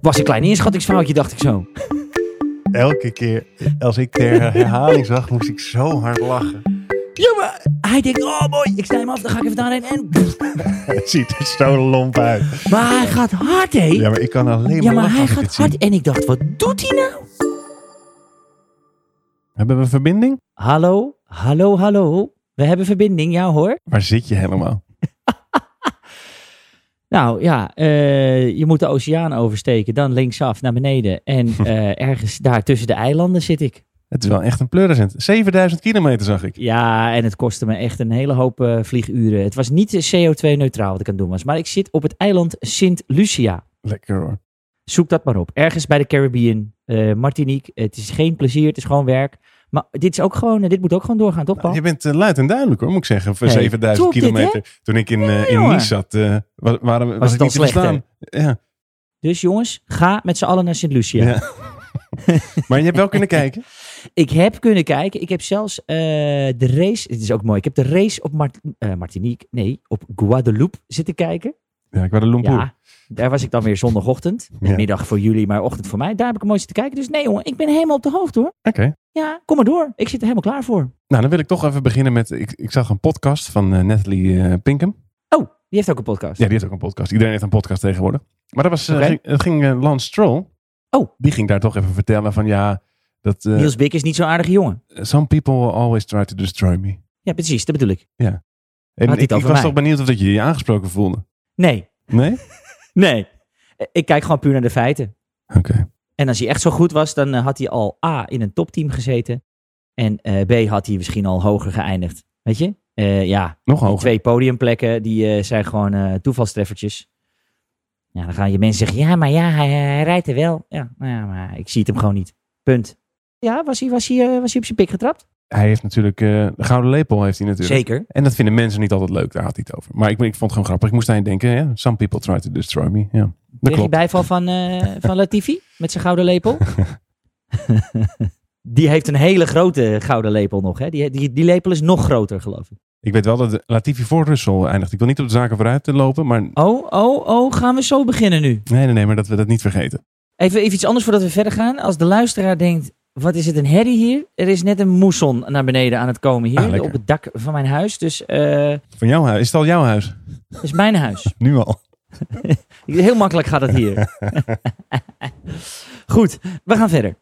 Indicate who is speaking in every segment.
Speaker 1: Was een klein inschattingsfoutje, dacht ik zo.
Speaker 2: Elke keer als ik de herhaling zag, moest ik zo hard lachen.
Speaker 1: Jongen, hij denkt, oh mooi, ik snij hem af, dan ga ik even daarheen. En...
Speaker 2: Het ziet er zo lomp uit.
Speaker 1: Maar hij gaat hard, hé.
Speaker 2: Ja, maar ik kan alleen maar
Speaker 1: Ja, maar
Speaker 2: lachen
Speaker 1: hij
Speaker 2: als ik
Speaker 1: gaat
Speaker 2: dit zie.
Speaker 1: hard. En ik dacht, wat doet hij nou?
Speaker 2: Hebben we een verbinding?
Speaker 1: Hallo, hallo, hallo. We hebben verbinding, ja hoor.
Speaker 2: Waar zit je helemaal?
Speaker 1: Nou ja, eh, je moet de oceaan oversteken, dan linksaf naar beneden. En eh, ergens daar tussen de eilanden zit ik.
Speaker 2: Het is wel echt een pleurisend. 7000 kilometer zag ik.
Speaker 1: Ja, en het kostte me echt een hele hoop eh, vlieguren. Het was niet CO2-neutraal wat ik aan het doen was. Maar ik zit op het eiland Sint Lucia.
Speaker 2: Lekker hoor.
Speaker 1: Zoek dat maar op. Ergens bij de Caribbean, eh, Martinique. Het is geen plezier, het is gewoon werk. Maar dit, is ook gewoon, eh, dit moet ook gewoon doorgaan, toch Paul?
Speaker 2: Je bent eh, luid en duidelijk hoor, moet ik zeggen. Voor
Speaker 1: Hey,
Speaker 2: 7000
Speaker 1: top dit,
Speaker 2: kilometer. Toen ik in, eh, in
Speaker 1: jongen.
Speaker 2: Nice zat, eh, wa- waren, we- was,
Speaker 1: het
Speaker 2: ik
Speaker 1: al
Speaker 2: niet te
Speaker 1: slecht,
Speaker 2: verstaan. Ja.
Speaker 1: Dus jongens, ga met z'n allen naar Sint Lucia.
Speaker 2: Ja. Maar je hebt wel kunnen kijken.
Speaker 1: Ik heb kunnen kijken. Ik heb zelfs eh, de race. Het is ook mooi. Ik heb de race op Mart- eh, Martinique. Nee, op Guadeloupe zitten kijken.
Speaker 2: Ja, ik was de Lumpur.
Speaker 1: Ja, daar was ik dan weer zondagochtend.
Speaker 2: Ja.
Speaker 1: Middag voor jullie, maar ochtend voor mij. Daar heb ik mooi zitten kijken. Dus nee jongen, ik ben helemaal op de hoogte hoor.
Speaker 2: Oké.
Speaker 1: Ja, kom maar door. Ik zit er helemaal klaar voor.
Speaker 2: Nou, dan wil ik toch even beginnen met... Ik, ik zag een podcast van eh, Natalie eh, Pinkham.
Speaker 1: Oh, die heeft ook een podcast.
Speaker 2: Ja, die heeft ook een podcast. Iedereen heeft een podcast tegenwoordig. Maar dat was, eh,
Speaker 1: Oké.
Speaker 2: ging, het ging eh, Lance Stroll.
Speaker 1: Oh.
Speaker 2: Die ging daar toch even vertellen van ja, dat eh,
Speaker 1: Niels Bik is niet zo'n aardige jongen.
Speaker 2: some people will always try to destroy me.
Speaker 1: Ja, precies. Dat bedoel ik.
Speaker 2: En
Speaker 1: Had hij het
Speaker 2: ik, ik
Speaker 1: over
Speaker 2: was
Speaker 1: mij?
Speaker 2: toch benieuwd of dat je je aangesproken voelde.
Speaker 1: Nee,
Speaker 2: Nee?
Speaker 1: nee. Eh, Ik kijk gewoon puur naar de feiten.
Speaker 2: Oké.
Speaker 1: En als hij echt zo goed was, dan eh, had hij al A in een topteam gezeten. En eh, B had hij misschien al hoger geëindigd. Weet je? Eh, ja,
Speaker 2: Nog
Speaker 1: Die
Speaker 2: hoger.
Speaker 1: twee podiumplekken, die eh, zijn gewoon eh, toevalstreffertjes. Ja, dan gaan je mensen zeggen, ja, maar ja, hij, hij rijdt er wel. Ja, nou ja, maar ik zie het hem gewoon niet. Punt. Ja, was hij, was hij, eh, was hij op zijn pik getrapt?
Speaker 2: Hij heeft natuurlijk, eh, de gouden lepel heeft hij natuurlijk.
Speaker 1: Zeker.
Speaker 2: En dat vinden mensen niet altijd leuk, daar had hij het over. Maar ik, ik vond het gewoon grappig. Ik moest aan je denken, ja, some people try to destroy me. Ja, dat
Speaker 1: Kreeg hij
Speaker 2: klopt.
Speaker 1: bijval van, eh, van Latifi met zijn gouden lepel? die heeft een hele grote gouden lepel nog. Hè? Die, die, die lepel is nog groter, geloof ik.
Speaker 2: Ik weet wel dat de- Latifi voor Russell eindigt. Ik wil niet op de zaken vooruit te lopen, maar nee,
Speaker 1: Oh, oh, oh, gaan we zo beginnen nu?
Speaker 2: nee, nee, maar dat we dat niet vergeten.
Speaker 1: Even, even iets anders voordat we verder gaan. Als de luisteraar denkt, wat is het een herrie hier? Er is net een moesson naar beneden aan het komen
Speaker 2: Ah,
Speaker 1: hier.
Speaker 2: lekker.
Speaker 1: op het dak van mijn huis. Dus eh
Speaker 2: Van jouw huis, is het al jouw huis?
Speaker 1: dat is mijn huis.
Speaker 2: Nu al.
Speaker 1: Heel makkelijk gaat het hier. Goed, we gaan verder.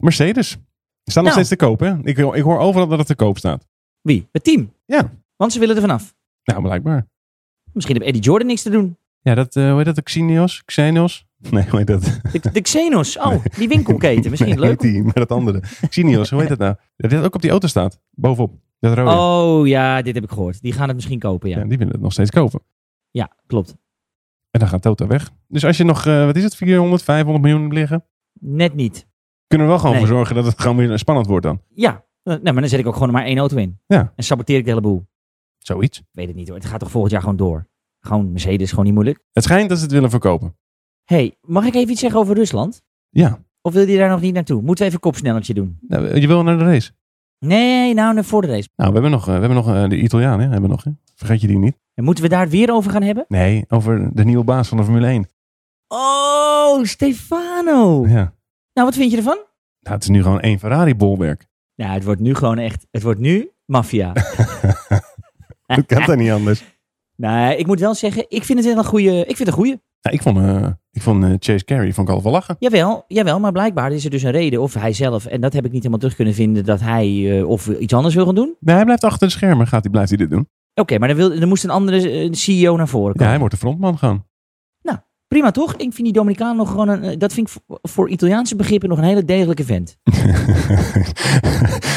Speaker 2: Mercedes. Die Staan nog
Speaker 1: Nou.
Speaker 2: steeds te koop, hè? Ik, ik hoor overal dat het te koop staat.
Speaker 1: Wie? Het team.
Speaker 2: Ja.
Speaker 1: Want ze willen er vanaf.
Speaker 2: Nou, blijkbaar.
Speaker 1: Misschien heeft Eddie Jordan niks te doen.
Speaker 2: Ja, dat, eh hoe heet dat? Xenios? Xenos? Nee, hoe heet dat?
Speaker 1: De, de Xenos. Oh, die winkelketen. Misschien
Speaker 2: Nee,
Speaker 1: leuk.
Speaker 2: Heet die, maar dat andere. Xenios, hoe heet dat nou? Dat dit ook op die auto staat. Bovenop. Dat rode.
Speaker 1: Oh ja, dit heb ik gehoord. Die gaan het misschien kopen, ja.
Speaker 2: Ja, die willen het nog steeds kopen.
Speaker 1: Ja, klopt.
Speaker 2: En dan gaat Toto weg. Dus als je nog, eh, wat is het, 400, 500 miljoen hebt liggen?
Speaker 1: Net niet.
Speaker 2: Kunnen we wel gewoon
Speaker 1: Nee.
Speaker 2: voor zorgen dat het gewoon weer spannend wordt dan.
Speaker 1: Ja, nou, maar dan zet ik ook gewoon maar één auto in.
Speaker 2: Ja.
Speaker 1: En saboteer ik de hele boel.
Speaker 2: Zoiets.
Speaker 1: weet het niet hoor. Het gaat toch volgend jaar gewoon door. Gewoon Mercedes, gewoon niet moeilijk.
Speaker 2: Het schijnt dat ze het willen verkopen.
Speaker 1: hey, mag ik even iets zeggen over Rusland?
Speaker 2: Ja.
Speaker 1: Of wil je daar nog niet naartoe? Moeten we even kopsnelletje doen?
Speaker 2: Nou, je wil naar de race.
Speaker 1: Nee, nou naar voor de race.
Speaker 2: Nou, we hebben nog, eh, we hebben nog eh, de Italiaan, hè? Hebben we nog, hè? Vergeet je die niet?
Speaker 1: En moeten we daar het weer over gaan hebben?
Speaker 2: Nee, over de nieuwe baas van de Formule 1.
Speaker 1: Oh, Stefano.
Speaker 2: Ja.
Speaker 1: Nou, wat vind je ervan?
Speaker 2: Nou, het is nu gewoon één Ferrari-bolwerk.
Speaker 1: Nou, het wordt nu gewoon echt, het wordt nu maffia.
Speaker 2: Dat kan dan niet anders.
Speaker 1: nee, Nou, ik moet wel zeggen, ik vind het wel een goede, ik vind het een goede.
Speaker 2: Nou, ik vond, eh, ik vond eh, Chase Carey vond ik al wel lachen.
Speaker 1: Jawel, jawel, maar blijkbaar is er dus een reden, of hij zelf, en dat heb ik niet helemaal terug kunnen vinden, dat hij eh, of iets anders wil gaan doen.
Speaker 2: Nee, hij blijft achter de schermen. Gaat hij, blijft hij dit doen?
Speaker 1: Oké, maar dan, wil, dan moest een andere eh, CEO naar voren
Speaker 2: Ja,
Speaker 1: komen.
Speaker 2: hij wordt de frontman gewoon.
Speaker 1: Prima toch? Ik vind die Dominicaan nog gewoon een. eh, Dat vind ik voor, voor Italiaanse begrippen nog een hele degelijke vent.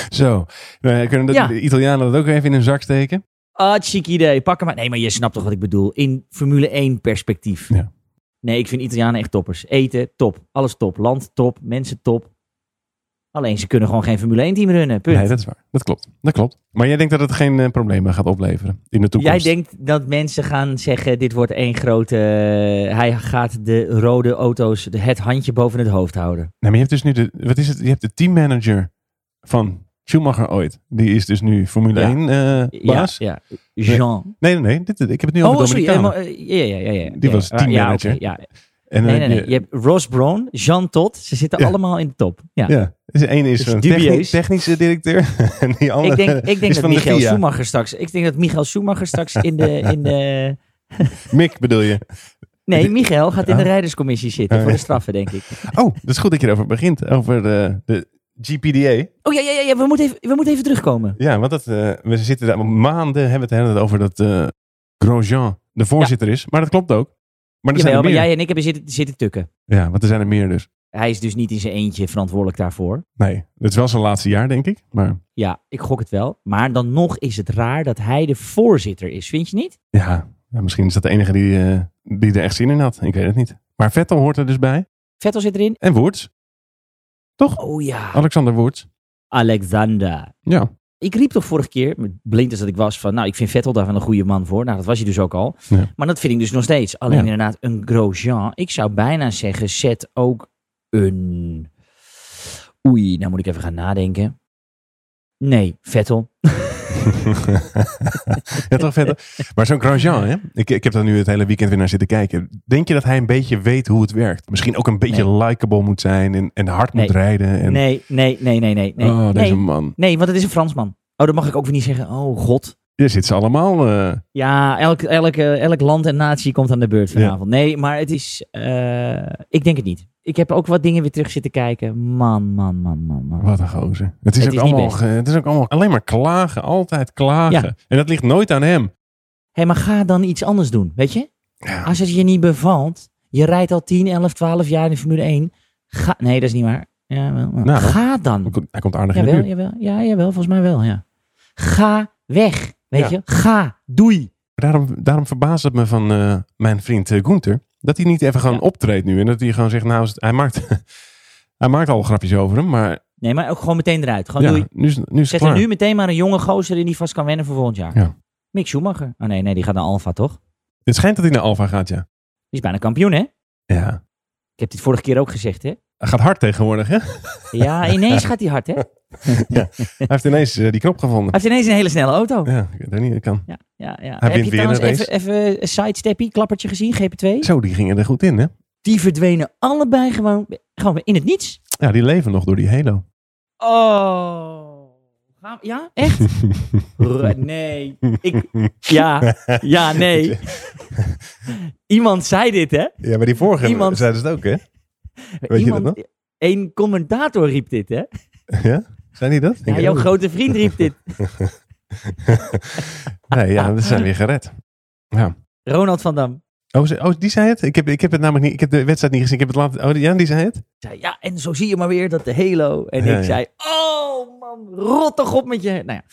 Speaker 2: Zo. Nou, kunnen de,
Speaker 1: Ja.
Speaker 2: de Italianen dat ook even in hun zak steken?
Speaker 1: Ah, chic idee. Pak hem maar. Nee, maar je snapt toch wat ik bedoel? In Formule 1 perspectief.
Speaker 2: Ja.
Speaker 1: Nee, ik vind Italianen echt toppers. Eten, top. Alles top. Land, top. Mensen, top. Alleen ze kunnen gewoon geen Formule 1 team runnen. Punt.
Speaker 2: Nee, dat is waar. Dat klopt. Dat klopt. Maar jij denkt dat het geen eh, problemen gaat opleveren in de toekomst?
Speaker 1: Jij denkt dat mensen gaan zeggen: dit wordt één grote. eh, hij gaat de rode auto's de- het handje boven het hoofd houden.
Speaker 2: Nee, maar je hebt dus nu de, wat is het? Je hebt de teammanager van Schumacher ooit. Die is dus nu Formule
Speaker 1: Ja.
Speaker 2: 1 eh, baas.
Speaker 1: Ja, ja. Jean.
Speaker 2: Nee, nee, nee. Dit, ik heb het nu over
Speaker 1: Oh, sorry.
Speaker 2: Dominicaan.
Speaker 1: eh, maar, eh, ja, ja, ja, ja.
Speaker 2: Die
Speaker 1: Ja,
Speaker 2: was
Speaker 1: ja, ja,
Speaker 2: teammanager.
Speaker 1: oké, ja.
Speaker 2: En dan
Speaker 1: Nee, nee,
Speaker 2: heb
Speaker 1: nee. Je hebt Ross Brown, Jean Todt. Ze zitten
Speaker 2: Ja.
Speaker 1: allemaal in de top. Ja.
Speaker 2: Ja, dus de ene is
Speaker 1: Dus
Speaker 2: een
Speaker 1: dubieus.
Speaker 2: techni- technische directeur. En die andere
Speaker 1: Ik denk, ik denk
Speaker 2: is
Speaker 1: dat
Speaker 2: van de
Speaker 1: Michael
Speaker 2: FIA.
Speaker 1: Schumacher straks... Ik denk dat Michael Schumacher straks in de... In de
Speaker 2: Mick bedoel je.
Speaker 1: nee,
Speaker 2: Die-
Speaker 1: Michael gaat in de
Speaker 2: Oh.
Speaker 1: rijderscommissie zitten
Speaker 2: Oh,
Speaker 1: voor de
Speaker 2: ja.
Speaker 1: straffen, denk ik.
Speaker 2: Oh, dat is goed dat je erover begint. Over de, de GPDA.
Speaker 1: Oh ja, ja, ja, ja, we, moeten even, we moeten even terugkomen.
Speaker 2: Ja, want dat, eh, we zitten daar maanden hebben we het de hele tijd over dat eh, Grosjean de voorzitter is. Maar dat klopt ook. Maar er zijn
Speaker 1: Jawel,
Speaker 2: er
Speaker 1: maar jij
Speaker 2: meer.
Speaker 1: en ik hebben zitten, zitten tukken.
Speaker 2: Ja, want er zijn er meer dus.
Speaker 1: Hij is dus niet in zijn eentje verantwoordelijk daarvoor.
Speaker 2: Nee, dat is wel zijn laatste jaar denk ik. Maar
Speaker 1: Ja, ik gok het wel. Maar dan nog is het raar dat hij de voorzitter is, vind je niet?
Speaker 2: ja, ja, misschien is dat de enige die, eh, die er echt zin in had. Ik weet het niet. Maar Vettel hoort er dus bij.
Speaker 1: Vettel zit erin.
Speaker 2: En Woerts. Toch?
Speaker 1: Oh ja,
Speaker 2: Alexander Woerts.
Speaker 1: Alexander.
Speaker 2: Ja,
Speaker 1: Ik riep toch vorige keer, blind als dat ik was, van nou, ik vind Vettel daar wel een goede man voor. Nou, dat was hij dus ook al.
Speaker 2: Ja.
Speaker 1: Maar dat vind ik dus nog steeds. Alleen
Speaker 2: Ja.
Speaker 1: inderdaad, een Grosjean. Ik zou bijna zeggen, zet ook een... Oei, nou moet ik even gaan nadenken. Nee, Vettel.
Speaker 2: ja, toch verder. Maar zo'n Grosjean, hè? Ik, ik heb daar nu het hele weekend weer naar zitten kijken. Denk je dat hij een beetje weet hoe het werkt? Misschien ook een beetje likable moet zijn en, en hard moet rijden. En,
Speaker 1: Nee, nee, nee, nee, nee. Nee,
Speaker 2: oh, deze
Speaker 1: nee.
Speaker 2: man.
Speaker 1: nee want het is een Fransman. Oh, dat mag ik ook weer niet zeggen. Oh, god.
Speaker 2: Hier zitten ze allemaal. eh,
Speaker 1: Ja, elk, elk, eh, elk land en natie komt aan de beurt vanavond. Nee, maar het is... eh, ik denk het niet. Ik heb ook wat dingen weer terug zitten kijken. Man, man, man, man, man.
Speaker 2: wat een gozer. Het is,
Speaker 1: Het
Speaker 2: ook
Speaker 1: is niet
Speaker 2: allemaal,
Speaker 1: best.
Speaker 2: ge- het is ook allemaal alleen maar klagen. Altijd klagen. En dat ligt nooit aan hem.
Speaker 1: Hé, maar ga dan iets anders doen, weet je?
Speaker 2: Ja.
Speaker 1: Als het je niet bevalt, je rijdt al 10, 11, 12 jaar in de Formule 1. Ga... Nee, dat is niet waar. Ja, wel, wel.
Speaker 2: Nou.
Speaker 1: ga
Speaker 2: Hij
Speaker 1: dan.
Speaker 2: komt- Hij komt aardig in de
Speaker 1: Jawel,
Speaker 2: buurt.
Speaker 1: jawel. Ja, jawel, volgens mij wel, ja. Ga weg, weet
Speaker 2: Ja.
Speaker 1: je? Ga, doei.
Speaker 2: Daarom, daarom verbaast het me van eh, mijn vriend eh, Gunther. Dat hij niet even gewoon
Speaker 1: Ja.
Speaker 2: optreedt nu. En dat hij gewoon zegt, nou, is het- hij maakt, hij maakt al grapjes over hem. Maar
Speaker 1: Nee, maar ook gewoon meteen eruit. Gewoon
Speaker 2: ja,
Speaker 1: doei.
Speaker 2: nu is, nu is het
Speaker 1: Zet er
Speaker 2: klaar.
Speaker 1: nu meteen maar een jonge gozer in die vast kan wennen voor volgend jaar.
Speaker 2: Ja.
Speaker 1: Mick Schumacher. Oh nee, nee, die gaat naar Alfa, toch? Die
Speaker 2: Het schijnt dat hij naar Alfa gaat, ja.
Speaker 1: is bijna kampioen, hè?
Speaker 2: Ja.
Speaker 1: Ik heb dit vorige keer ook gezegd, hè?
Speaker 2: Hij gaat hard tegenwoordig, hè?
Speaker 1: Ja, ineens gaat hij hard, hè? Hij
Speaker 2: Hij heeft ineens eh, die knop gevonden.
Speaker 1: heeft ineens een hele snelle auto.
Speaker 2: Ja, ik weet ook niet, dat kan.
Speaker 1: Ja, ja, ja.
Speaker 2: Hij
Speaker 1: Heb je
Speaker 2: wint weer een
Speaker 1: trouwens even, even een sidesteppie, klappertje gezien, GP2?
Speaker 2: Zo, die gingen er goed in, hè?
Speaker 1: Die verdwenen allebei gewoon, gewoon in het niets.
Speaker 2: Ja, die leven nog door die Halo.
Speaker 1: Oh. Gaan we- Ja, echt? R- nee. Ik, ja, ja, nee. Iemand zei dit, hè?
Speaker 2: Ja, maar die vorige
Speaker 1: Iemand-
Speaker 2: zeiden ze het ook, hè? Weet je dat
Speaker 1: Iemand,
Speaker 2: nog?
Speaker 1: Een commentator riep dit, hè?
Speaker 2: Ja? Zijn die dat? Ik
Speaker 1: Ja,
Speaker 2: weet
Speaker 1: jouw
Speaker 2: het
Speaker 1: grote vriend riep dit.
Speaker 2: niet. Nee, ja, we zijn weer gered.
Speaker 1: Ronald van Dam.
Speaker 2: Oh, ze- oh, die zei het? Ik heb, ik heb het namelijk niet... Ik heb de wedstrijd niet gezien. Ik heb het later... Oh, ja, die zei het?
Speaker 1: zei, ja, en zo zie je maar weer dat de Halo. En
Speaker 2: Ja,
Speaker 1: ik
Speaker 2: ja.
Speaker 1: zei, oh man, rot toch op met je. Nou ja.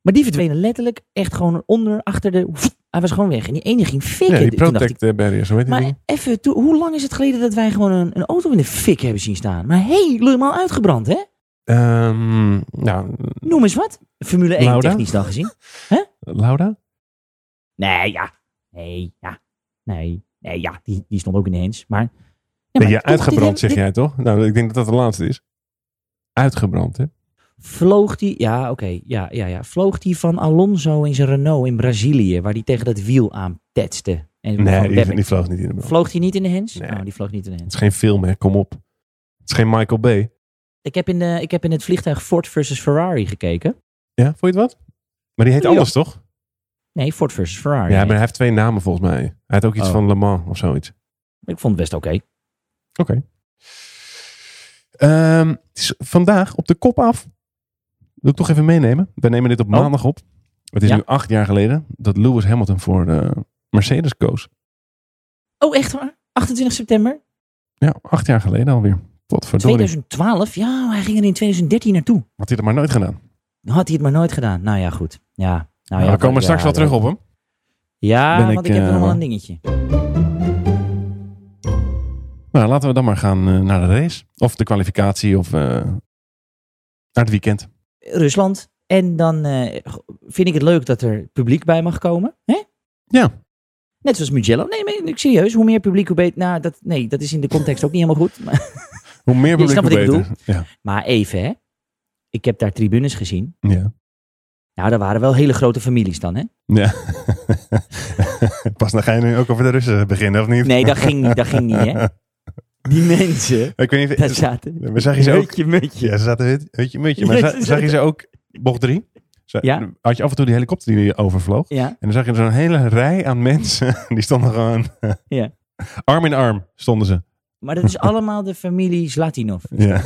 Speaker 1: Maar die verdwenen letterlijk echt gewoon onder, achter de... Hij was gewoon weg. En die ene ging fikken.
Speaker 2: Ja,
Speaker 1: Toen
Speaker 2: die
Speaker 1: dacht ik,
Speaker 2: Protect eh, Barriers, hoe heet die
Speaker 1: maar
Speaker 2: ding?
Speaker 1: even, toe, hoe lang is het geleden dat wij gewoon een, een auto in de fik hebben zien staan? Maar helemaal uitgebrand, hè?
Speaker 2: Ehm, nou,
Speaker 1: Noem eens wat. Formule 1
Speaker 2: Lauda?
Speaker 1: technisch dan gezien.
Speaker 2: Laura?
Speaker 1: Nee, ja. Nee, ja. Nee, nee, ja. Die, die stond ook ineens. Maar... Ja,
Speaker 2: Ben
Speaker 1: maar
Speaker 2: je
Speaker 1: toch, dit
Speaker 2: uitgebrand,
Speaker 1: hebben-
Speaker 2: zeg
Speaker 1: dit-
Speaker 2: jij toch? Nou, ik denk dat dat de laatste is. Uitgebrand, hè?
Speaker 1: Vloog die, ja, oké, ja, ja, ja. Vloog die van Alonso in zijn Renault in Brazilië, waar die tegen dat wiel aan tetste. En van
Speaker 2: Nee, die,
Speaker 1: Webber.
Speaker 2: die vloog niet in de brand.
Speaker 1: Vloog die niet in de hens?
Speaker 2: Nee.
Speaker 1: Oh, die vloog niet in de
Speaker 2: Het
Speaker 1: hens.
Speaker 2: is geen film, hè? Kom op. Het is geen Michael Bay.
Speaker 1: Ik heb in, de, ik heb in het vliegtuig Ford versus Ferrari gekeken.
Speaker 2: Ja, vond je het wat? Maar die heet
Speaker 1: Ja.
Speaker 2: anders, toch?
Speaker 1: Nee, Ford versus Ferrari.
Speaker 2: Ja, maar
Speaker 1: Nee.
Speaker 2: hij heeft twee namen volgens mij. Hij heeft ook iets
Speaker 1: Oh.
Speaker 2: van Le Mans of zoiets.
Speaker 1: Ik vond het best oké.
Speaker 2: Oké. Ehm, het is vandaag op de kop af. Wil ik toch even meenemen. We nemen dit op
Speaker 1: Oh.
Speaker 2: maandag op. Het is
Speaker 1: Ja.
Speaker 2: nu acht jaar geleden dat Lewis Hamilton voor de Mercedes koos.
Speaker 1: Oh, echt waar? 28 september
Speaker 2: Ja, acht jaar geleden alweer. Tot verdorie.
Speaker 1: 2012? Ja, hij ging er in 2013 naartoe.
Speaker 2: Had hij dat maar nooit gedaan.
Speaker 1: Had hij het maar nooit gedaan. Nou ja, goed. Ja. Nou, ja,
Speaker 2: we komen
Speaker 1: ja,
Speaker 2: straks wel
Speaker 1: leuk.
Speaker 2: terug op hem.
Speaker 1: Ja,
Speaker 2: Ben
Speaker 1: want ik,
Speaker 2: ik,
Speaker 1: heb
Speaker 2: eh,
Speaker 1: nog wel
Speaker 2: wel.
Speaker 1: een dingetje.
Speaker 2: Nou, laten we dan maar gaan eh, naar de race. Of de kwalificatie of eh, naar het weekend.
Speaker 1: Rusland. En dan eh, vind ik het leuk dat er publiek bij mag komen. Hè?
Speaker 2: Ja.
Speaker 1: Net zoals Mugello. Nee, maar ik- serieus. Hoe meer publiek, hoe beter. Nou, dat, nee, dat is in de context ook niet helemaal goed. Maar,
Speaker 2: Hoe meer publiek,
Speaker 1: snapt
Speaker 2: hoe
Speaker 1: wat ik
Speaker 2: beter. Ja.
Speaker 1: maar even, hè. Ik heb daar tribunes gezien.
Speaker 2: Ja.
Speaker 1: Nou, dat waren wel hele grote families dan, hè?
Speaker 2: Ja. Pas dan ga je nu ook over de Russen beginnen, of niet?
Speaker 1: Nee, dat ging niet, dat ging niet, hè? Die mensen,
Speaker 2: Ik weet niet, eh,
Speaker 1: daar
Speaker 2: we
Speaker 1: zaten...
Speaker 2: zag je ze ook?
Speaker 1: Mutje, mutje.
Speaker 2: Ja, ze zaten hut- hutje mutje. Maar
Speaker 1: Ja,
Speaker 2: za-
Speaker 1: ze
Speaker 2: zag je ze ook, bocht drie? Ze-
Speaker 1: Ja.
Speaker 2: Had je af en toe die helikopter die overvloog?
Speaker 1: Ja,
Speaker 2: En dan zag je zo'n hele rij aan mensen. Die stonden gewoon...
Speaker 1: Ja.
Speaker 2: Arm in arm stonden ze.
Speaker 1: maar dat is allemaal de familie Zlatinov.
Speaker 2: Ja.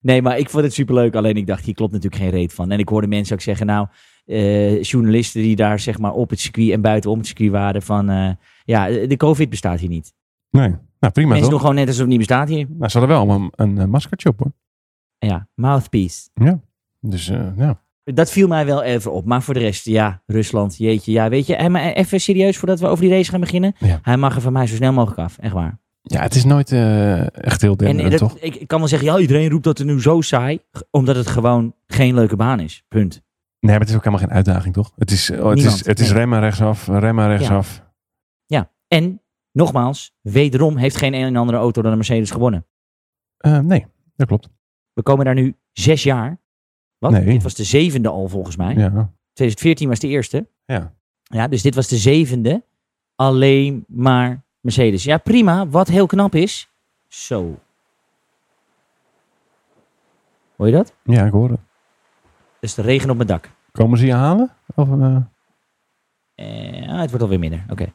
Speaker 1: Nee, maar ik vond het superleuk. Alleen ik dacht, hier klopt natuurlijk geen reet van. En ik hoorde mensen ook zeggen, nou, eh, journalisten die daar zeg maar op het circuit en buitenom het circuit waren van, eh, ja, de COVID bestaat hier niet.
Speaker 2: Nee. Nou, prima
Speaker 1: mensen
Speaker 2: toch?
Speaker 1: doen gewoon net alsof het niet bestaat hier.
Speaker 2: Nou, ze hadden wel een, een, eh, maskertje op hoor.
Speaker 1: Ja, mouthpiece.
Speaker 2: Dus eh, ja.
Speaker 1: Dat viel mij wel even op. Maar voor de rest, ja, Rusland, jeetje. Ja, weet je, hè, maar even serieus voordat we over die race gaan beginnen.
Speaker 2: Ja.
Speaker 1: Hij mag er van mij zo snel mogelijk af, echt waar.
Speaker 2: Ja, het is nooit eh, echt heel
Speaker 1: en
Speaker 2: denderend
Speaker 1: dat-
Speaker 2: toch?
Speaker 1: ik ik kan wel zeggen, ja, iedereen roept dat er nu zo saai. g- Omdat het gewoon geen leuke baan is. Punt.
Speaker 2: Nee, maar het is ook helemaal geen uitdaging toch? Het is, oh, het
Speaker 1: Niemand,
Speaker 2: is, het is
Speaker 1: nee.
Speaker 2: remmen rechtsaf, remmen rechtsaf.
Speaker 1: En, nogmaals, wederom heeft geen een en andere auto dan een Mercedes gewonnen.
Speaker 2: Eh, nee, dat klopt.
Speaker 1: We komen daar nu zes jaar. Wat?
Speaker 2: Nee.
Speaker 1: Dit was de zevende al volgens mij.
Speaker 2: Ja.
Speaker 1: 2014 was de eerste.
Speaker 2: Ja.
Speaker 1: Ja, dus dit was de zevende. Alleen maar Mercedes. Ja, prima. Wat heel knap is. Zo. Hoor je dat?
Speaker 2: ja, ik hoor het.
Speaker 1: Dat is de regen op mijn dak.
Speaker 2: Komen ze je halen? Of, eh,
Speaker 1: Eh, ah, het wordt alweer minder. Oké.